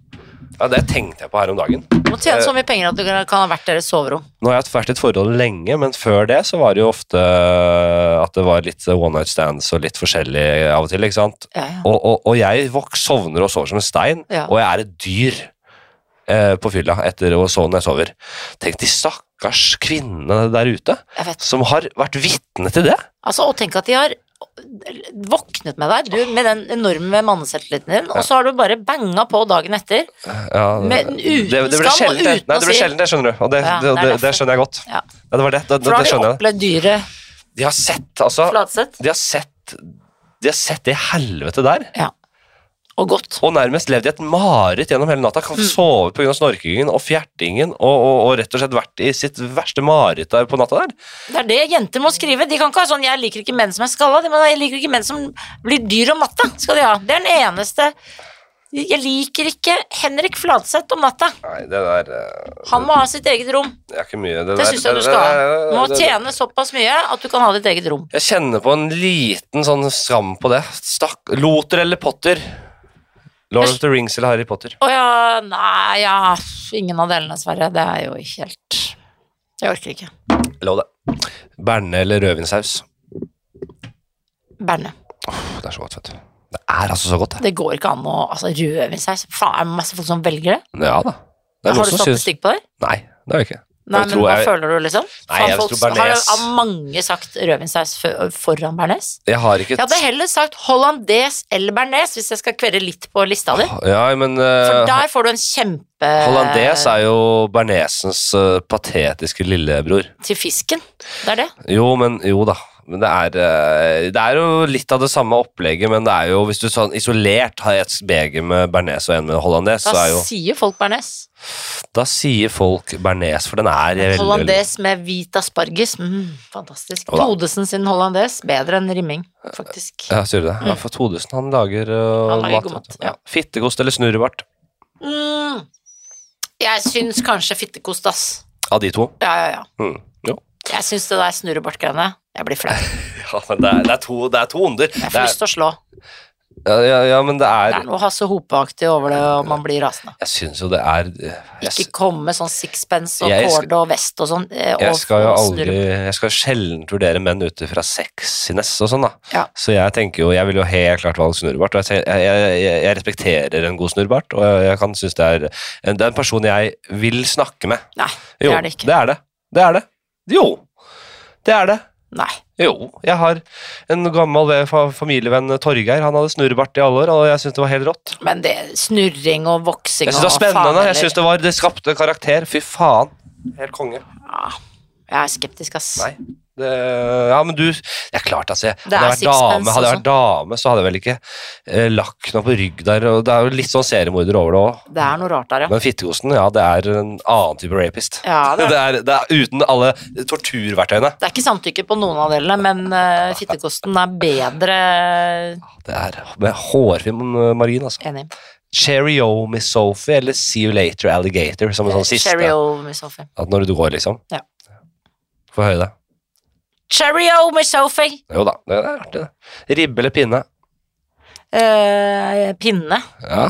A: Det tenkte jeg på her om dagen.
B: Du må
A: Eh.
B: tjene så mye penger at du kan kan ha vært deres soverom.
A: Nå har jeg vært i et forhold lenge, men før det så var det jo ofte eh, at det var litt one night stands og litt forskjellig av og til. ikke sant?
B: Ja, ja.
A: Og, og, og jeg vok- sovner og sover som en stein,
B: Ja.
A: og jeg er et dyr eh, på fylla etter å sove når jeg sover. Tenk de stakkars kvinnene der ute
B: Jeg vet.
A: som har vært vitne til det.
B: Altså, og tenk at de har våknet med deg, du, med den enorme manneselvtilliten din, og så har du bare banga på dagen etter.
A: Ja,
B: Men uten
A: det, det ble
B: skam og
A: sjeldent, det.
B: uten
A: Nei,
B: å
A: det ble
B: si-
A: sjeldent, det skjønner du. Og det,
B: Ja,
A: det,
B: det er
A: det, det
B: derfor.
A: skjønner jeg godt.
B: Ja.
A: Ja, det var det. Det, det,
B: For da
A: det
B: har de
A: skjønner jeg.
B: opplevd dyret
A: De har sett, altså.
B: Fladseth.
A: De har sett, de har sett det helvete der.
B: Ja. Og godt.
A: Og nærmest levd i et mareritt gjennom hele natta.
B: Mm.
A: Kan sove pga. snorkingen og fjertingen og, og, og rett og slett vært i sitt verste mareritt der på natta der.
B: Det er det jenter må skrive. De kan ikke ha sånn 'jeg liker ikke menn som er skalla', de må ha 'jeg liker ikke menn som blir dyr om natta'. skal de ha. Det er den eneste 'Jeg liker ikke Henrik Fladseth om natta'.
A: Nei, det der eh,
B: Han må ha sitt eget rom.
A: Det er ikke mye. Det,
B: Det
A: der-
B: syns jeg du
A: det-
B: skal ha.
A: det-
B: Du må
A: det-
B: tjene såpass mye at du kan ha ditt eget rom.
A: Jeg kjenner på en liten sånn skam på det. Stakk, Loter eller Potter? Lord of the Rings eller Harry Potter?
B: Å ja, nei, ja Ingen av delene, dessverre. Det er jo helt Jeg orker ikke.
A: Lov det. Berne eller rødvinsaus?
B: Berne.
A: Åh, Det er så godt, vet du. Det er altså så godt, det.
B: Det går ikke an å altså, Rødvinsaus Faen, er det masse folk som velger det?
A: Ja da. Det er
B: Har
A: noen
B: du
A: som syns
B: statistikk på det?
A: Nei, det har jeg ikke.
B: Nei,
A: Jeg
B: men
A: tror
B: hva
A: jeg-
B: føler du, liksom?
A: Nei,
B: Faen,
A: jeg
B: folk,
A: tror
B: har,
A: bearnés.
B: har mange sagt rødvinsaus fø- foran bearnés?
A: Jeg har ikke
B: Jeg hadde heller sagt hollandes eller bearnés, hvis jeg skal kvere litt på lista di.
A: Ja, men
B: For
A: eh,
B: der får du en kjempe
A: Hollandes er jo bernesens eh, patetiske lillebror.
B: til fisken. Det er det.
A: Jo, men jo da. Men det er, eh, det er jo litt av det samme opplegget, men det er jo, hvis du sånn isolert har et beger med bearnés og en med hollandes,
B: Da
A: så er jo
B: sier folk bearnés.
A: Da sier folk bearnés, for den er veldig
B: Hollandes med hvit asparges. Mm, fantastisk.
A: Jo da.
B: Todesen sin hollandes. Bedre enn rimming, faktisk.
A: Ja, sier du det? Ja, for Todesen, han lager, øh,
B: Mm. Han lager god mat,
A: vet du.
B: ja.
A: Fittekost eller snurrebart?
B: Mm, jeg syns kanskje fittekost, ass.
A: Av de to.
B: Ja, ja, ja.
A: Mm. Jo.
B: Jeg syns det der snurrebart-greiene Jeg blir flau.
A: Ja, men det, er, det, er to, det er to onder.
B: Jeg
A: Det
B: får
A: er-
B: lyst til å slå.
A: ja, ja, ja, men det
B: Det
A: er
B: er noe Hasse Hope-aktig over det, og man blir rasende.
A: Jeg syns jo det er eh, jeg,
B: Ikke
A: sy-
B: komme med sånn sixpence og
A: Jeg skal-
B: kårde og vest og sånn. eh, og-
A: jeg skal jo
B: og
A: aldri
B: snurre.
A: Jeg skal sjelden vurdere menn ut fra sexiness og sånn, da.
B: Ja.
A: Så jeg tenker jo Jeg vil jo helt klart valge snurrebart, og jeg, tenker- jeg, jeg, jeg- jeg respekterer en god snurrebart, og jeg, jeg kan synes det er en, Det er en person jeg vil snakke med.
B: Nei,
A: Jo,
B: det er det ikke.
A: Det er det. Det er det. Jo. Det er det.
B: Nei.
A: Jo, jeg har en gammel ve- fa- familievenn, Torgeir. Han hadde snurrebart i alle år, og jeg syntes det var helt rått.
B: Men det snurring og voksing
A: Jeg synes det var
B: og faen
A: spennende. Jeg
B: heller.
A: synes det, var, det skapte karakter. Fy faen. Helt konge.
B: Ja, Ah, Jeg er skeptisk, ass.
A: Nei. Det, ja, men du Det er klart, altså. jeg-
B: Det er
A: Hadde jeg vært
B: sixpence
A: dame, hadde jeg vært dame så hadde jeg vel ikke eh, lagt noe på rygg der. Og det er jo litt sånn seriemorder over det òg.
B: Det er noe rart der, ja.
A: Men fittekosten, ja, det er en annen type rapist.
B: Ja, det er-
A: det, er, det er uten alle torturverktøyene.
B: Det er ikke samtykke på noen av delene, men eh, fittekosten er bedre
A: Det er med hårfin eh, margin, altså.
B: Enig.
A: Cheerio, Miss Sophie, eller See You Later, Alligator, som en sånn siste.
B: Cheerio, Miss Sophie.
A: At når du går, liksom.
B: Ja.
A: Få høre det.
B: Cheerio, Miss Sophie!
A: Jo da, det er artig, det. Ribbe eller pinne?
B: Eh, pinne.
A: Ja.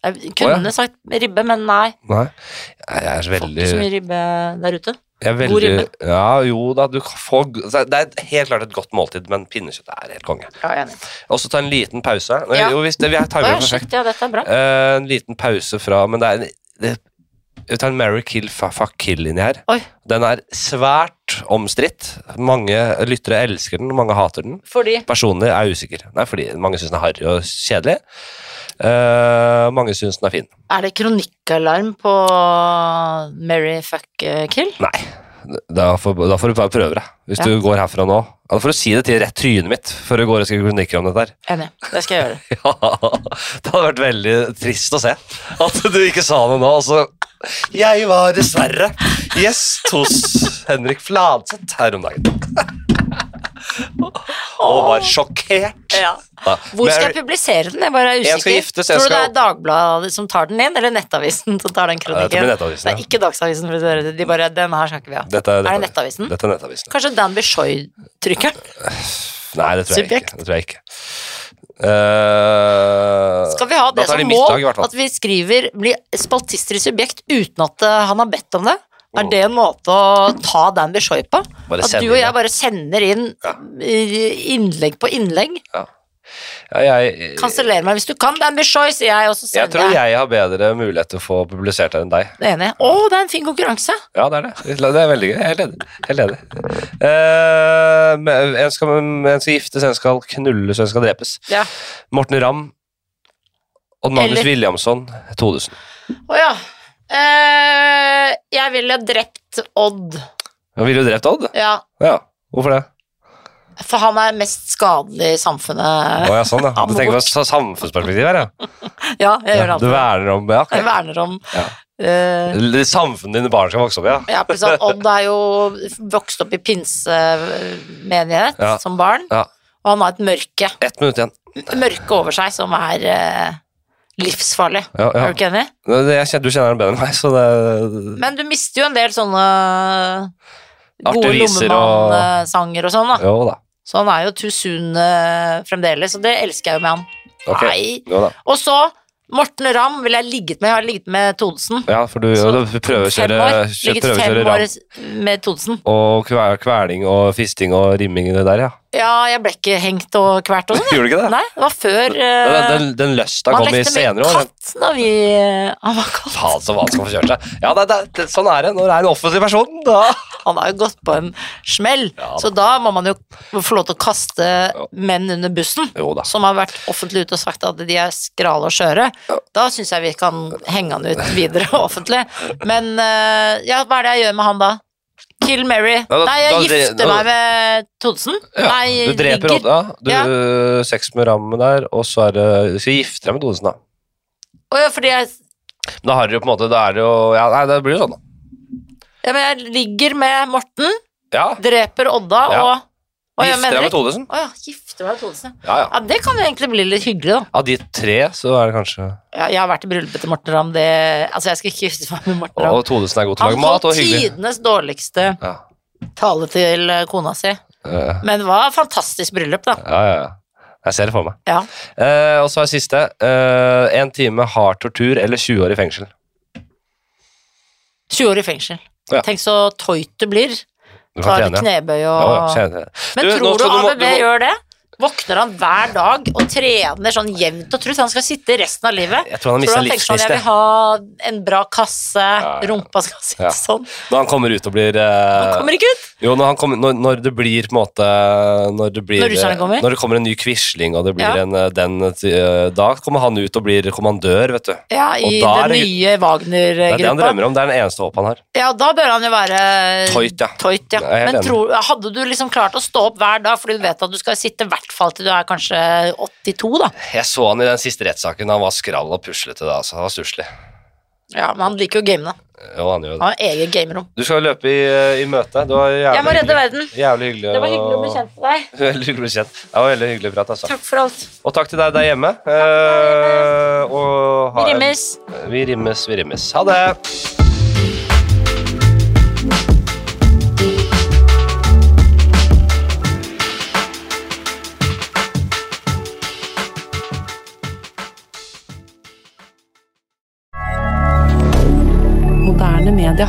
B: Jeg
A: Å,
B: kunne
A: ja.
B: sagt ribbe, men nei.
A: Nei. Jeg er
B: Får ikke så
A: veldig
B: mye ribbe der ute.
A: jeg er veldig,
B: God ribbe.
A: Ja, jo da, du får altså, Det er helt klart et godt måltid, men pinnekjøtt er helt konge.
B: Ja, jeg er enig.
A: Og så ta en liten pause. Nei,
B: Ja.
A: Jo, hvis det, vi har
B: Å,
A: timer
B: ja,
A: perfekt.
B: shit, ja, dette er bra.
A: Eh, en liten pause fra Men det er en det, Vi tar en Mary Kill fa- Fuck Kill inni her.
B: Oi.
A: Den er svært omstridt. Mange lyttere elsker den, mange hater den.
B: Fordi
A: Personlig er jeg usikker. Nei, fordi mange syns den er harry og kjedelig. Eh, mange syns den er fin.
B: Er det kronikkalarm på Mary fuck eh, kill?
A: Nei. Da får, da får du bare prøve det. Hvis
B: Ja.
A: du går herfra nå. Da får du si det til rett trynet mitt før du går og skriver kronikker om dette her.
B: Enig. Det skal jeg gjøre.
A: Ja, det hadde vært veldig trist å se at du ikke sa noe nå. Altså. Jeg var dessverre gjest hos Henrik Fladseth her om dagen. Og var sjokkert. Ja.
B: Hvor skal jeg
A: Mary-
B: publisere den? Jeg bare er usikker.
A: En skal giftes, en
B: Tror du det
A: skal-
B: er Dagbladet som tar den inn, eller Nettavisen som tar den
A: Ja,
B: kronikken?
A: dette blir Nettavisen, ja.
B: Det er ikke Dagsavisen. For å høre det. De bare, den her skal ikke vi ha.
A: Dette
B: er det Nettavisen?
A: Dette er Nettavisen.
B: Kanskje Danby Shoy-trykkeren?
A: Nei, det tror jeg
B: Subjekt.
A: ikke. Det tror jeg ikke. Eh,
B: skal vi ha
A: Da
B: det
A: tar
B: som
A: de middag, i hvert
B: mål
A: fall.
B: at vi skriver blir spaltister i subjekt uten at eh, han har bedt om det? Er det en måte å ta Dan Bishoy på?
A: Bare
B: At
A: send
B: du og
A: inn, ja.
B: jeg bare sender inn eh, innlegg på innlegg?
A: Ja, jeg,
B: Kanseller meg hvis du kan, Dan Bishoy, sier jeg, og så
A: jeg
B: sender
A: tror
B: jeg.
A: jeg har bedre mulighet til å få publisert det enn deg.
B: Det er enig. Å, det er en fin konkurranse!
A: Ja, det er det. Det er veldig gøy. Jeg er Helt enig. Helt enig. Eh, men en, skal, en skal giftes, en skal knulles, og en skal drepes.
B: Ja.
A: Morten Ramm og Magnus
B: Eller-
A: Williamson 2000.
B: Å ja. Eh, jeg ville drept Odd.
A: Han ville jo drept Odd.
B: Ja,
A: Ja, hvorfor det?
B: for han er mest skadelig i
A: Å
B: samfunnet.
A: ja, sånn, ja. Du tenker på sa- samfunnsperspektiv her, ja.
B: Ja, jeg
A: ja
B: gjør det
A: du
B: alltid.
A: verner om ja,
B: Jeg
A: ok.
B: verner om
A: Ja.
B: eh,
A: Det Samfunnet dine barn skal vokse opp i, ja.
B: Ja, pluss at Odd er jo vokst opp i pinsemenighet
A: Ja.
B: som barn,
A: Ja.
B: og han har et mørke,
A: Ett minutt igjen.
B: mørke over seg som er eh, livsfarlig.
A: Ja, ja.
B: Er du ikke enig?
A: Det- det- jeg kjenner- Du kjenner den bedre enn meg, så det
B: Men du mister jo en del sånne gode
A: Arteriser og-
B: lommemann-sanger og sånn, da.
A: Jo da.
B: Så han er jo too soon eh, fremdeles, og det elsker jeg jo med han.
A: Ok.
B: Nei.
A: Jo da.
B: Og så Morten Ramm ville jeg ligget med. Jeg har ligget med Thodesen.
A: Ja, for du,
B: Så,
A: du prøver å
B: Fem
A: kjøre,
B: år.
A: kjø-
B: Ligget
A: prøver å kjøre
B: fem
A: Ramm.
B: år med Thodesen.
A: Og kve- kveling og fisting og rimming i det der, ja.
B: Ja, jeg ble ikke hengt og kvert og sånn. jeg.
A: Gjorde du ikke det?
B: Nei, det var før eh,
A: Den, den, den løsta
B: Man
A: kom i
B: lekte med
A: senere år. den.
B: katt da vi Han var katt.
A: Faen så vanskelig å få kjørt seg. Ja, det, det, det, sånn er det når det er en offensiv person. Da.
B: Han har jo gått på en smell,
A: Ja da.
B: så da må man jo få lov til å kaste menn under bussen.
A: Jo da.
B: Som har vært offentlig ute og sagt at de er skrale og skjøre. Da syns jeg vi kan henge han ut videre offentlig. Men eh, ja, hva er det jeg gjør med han da? Kill Mary.
A: Ja, da-
B: Nei, jeg
A: da dre-
B: gifter
A: da-
B: meg med Thodesen.
A: Ja,
B: Nei,
A: du dreper
B: ligger.
A: Odda, du
B: Ja.
A: øh, sex med rammen der, og så er det Du skal gifte deg med Thodesen, da.
B: Å ja, fordi jeg
A: Men da har du jo på en måte Da er det jo Ja, nei, det blir jo sånn, da.
B: Ja, men jeg ligger med Morten,
A: Ja.
B: dreper Odda
A: Ja.
B: og Å, jeg
A: Gifte deg
B: mener
A: med Thodesen.
B: Å ja, gifte meg med Thodesen. ja.
A: Ja, ja.
B: Ja, det kan jo egentlig bli litt hyggelig, da.
A: Av de tre, så er det kanskje
B: Ja, jeg har vært i bryllupet til Morten Ramm. Det, altså, jeg skal ikke gifte meg med Morten Ramm.
A: Og Thodesen er god til å
B: Han
A: lage mat, og
B: holdt
A: hyggelig.
B: tidenes dårligste
A: Ja.
B: tale til eh, kona si,
A: Øh,
B: men det var et fantastisk bryllup, da.
A: ja, ja, ja. Jeg ser det for meg.
B: Ja.
A: Eh, og så er siste. Én time hard tortur eller 20 år i fengsel.
B: 20 år i fengsel.
A: Ja.
B: Tenk så tøyt du blir.
A: Du kan
B: Tar
A: trene. ja.
B: knebøy
A: Ja, ja,
B: og
A: kjenne.
B: Men
A: Du, nå
B: tror du
A: skal du må-
B: ABB
A: du må-
B: gjør det? Våkner han hver dag og trener sånn jevnt og trutt? Han skal sitte resten av livet.
A: Jeg tror han har
B: Tror
A: mista
B: du han tenker sånn,
A: livsgnisten.
B: jeg vil ha en bra kasse,
A: ja.
B: rumpa skal sitte
A: Ja.
B: sånn.
A: Når han kommer ut og blir eh,
B: Han kommer ikke ut!
A: Jo, når, han kommer, når, når det blir på en måte Når det blir
B: Når russerne kommer?
A: når det kommer en ny Quisling, og det blir
B: Ja.
A: en eh, den eh, Da kommer han ut og blir kommandør, vet du.
B: Ja,
A: Og
B: i
A: da er
B: den
A: det- Det
B: nye
A: er det han
B: Wagner-gruppa.
A: drømmer om. Det er den eneste håpet han har.
B: Ja, da bør han jo være
A: Tøyt, ja.
B: Tøyt, ja.
A: Jeg er helt
B: Men
A: enig.
B: tror, hadde du liksom klart å stå opp hver dag, fordi du vet at du skal sitte i hvert fall til du er kanskje 82, da.
A: Jeg så han i den siste rettssaken. Han var skrall og puslete da, altså. Han var stusslig.
B: Ja, Men han liker jo gamene.
A: Jo, han gjør jo det.
B: Han har eget gamerom.
A: Du skal løpe i, eh, i møte. Det var jævlig
B: Jeg må redde
A: hyggelig.
B: verden.
A: Jævlig hyggelig.
B: Det var hyggelig å bli kjent med deg.
A: Veldig hyggelig å bli kjent. Det var veldig hyggelig prat, altså.
B: Takk for alt.
A: Og takk til deg der hjemme. Eh, og ha
B: Vi
A: en-
B: rimmes.
A: Vi rimmes, vi rimmes. Ha det!
E: Moderne media.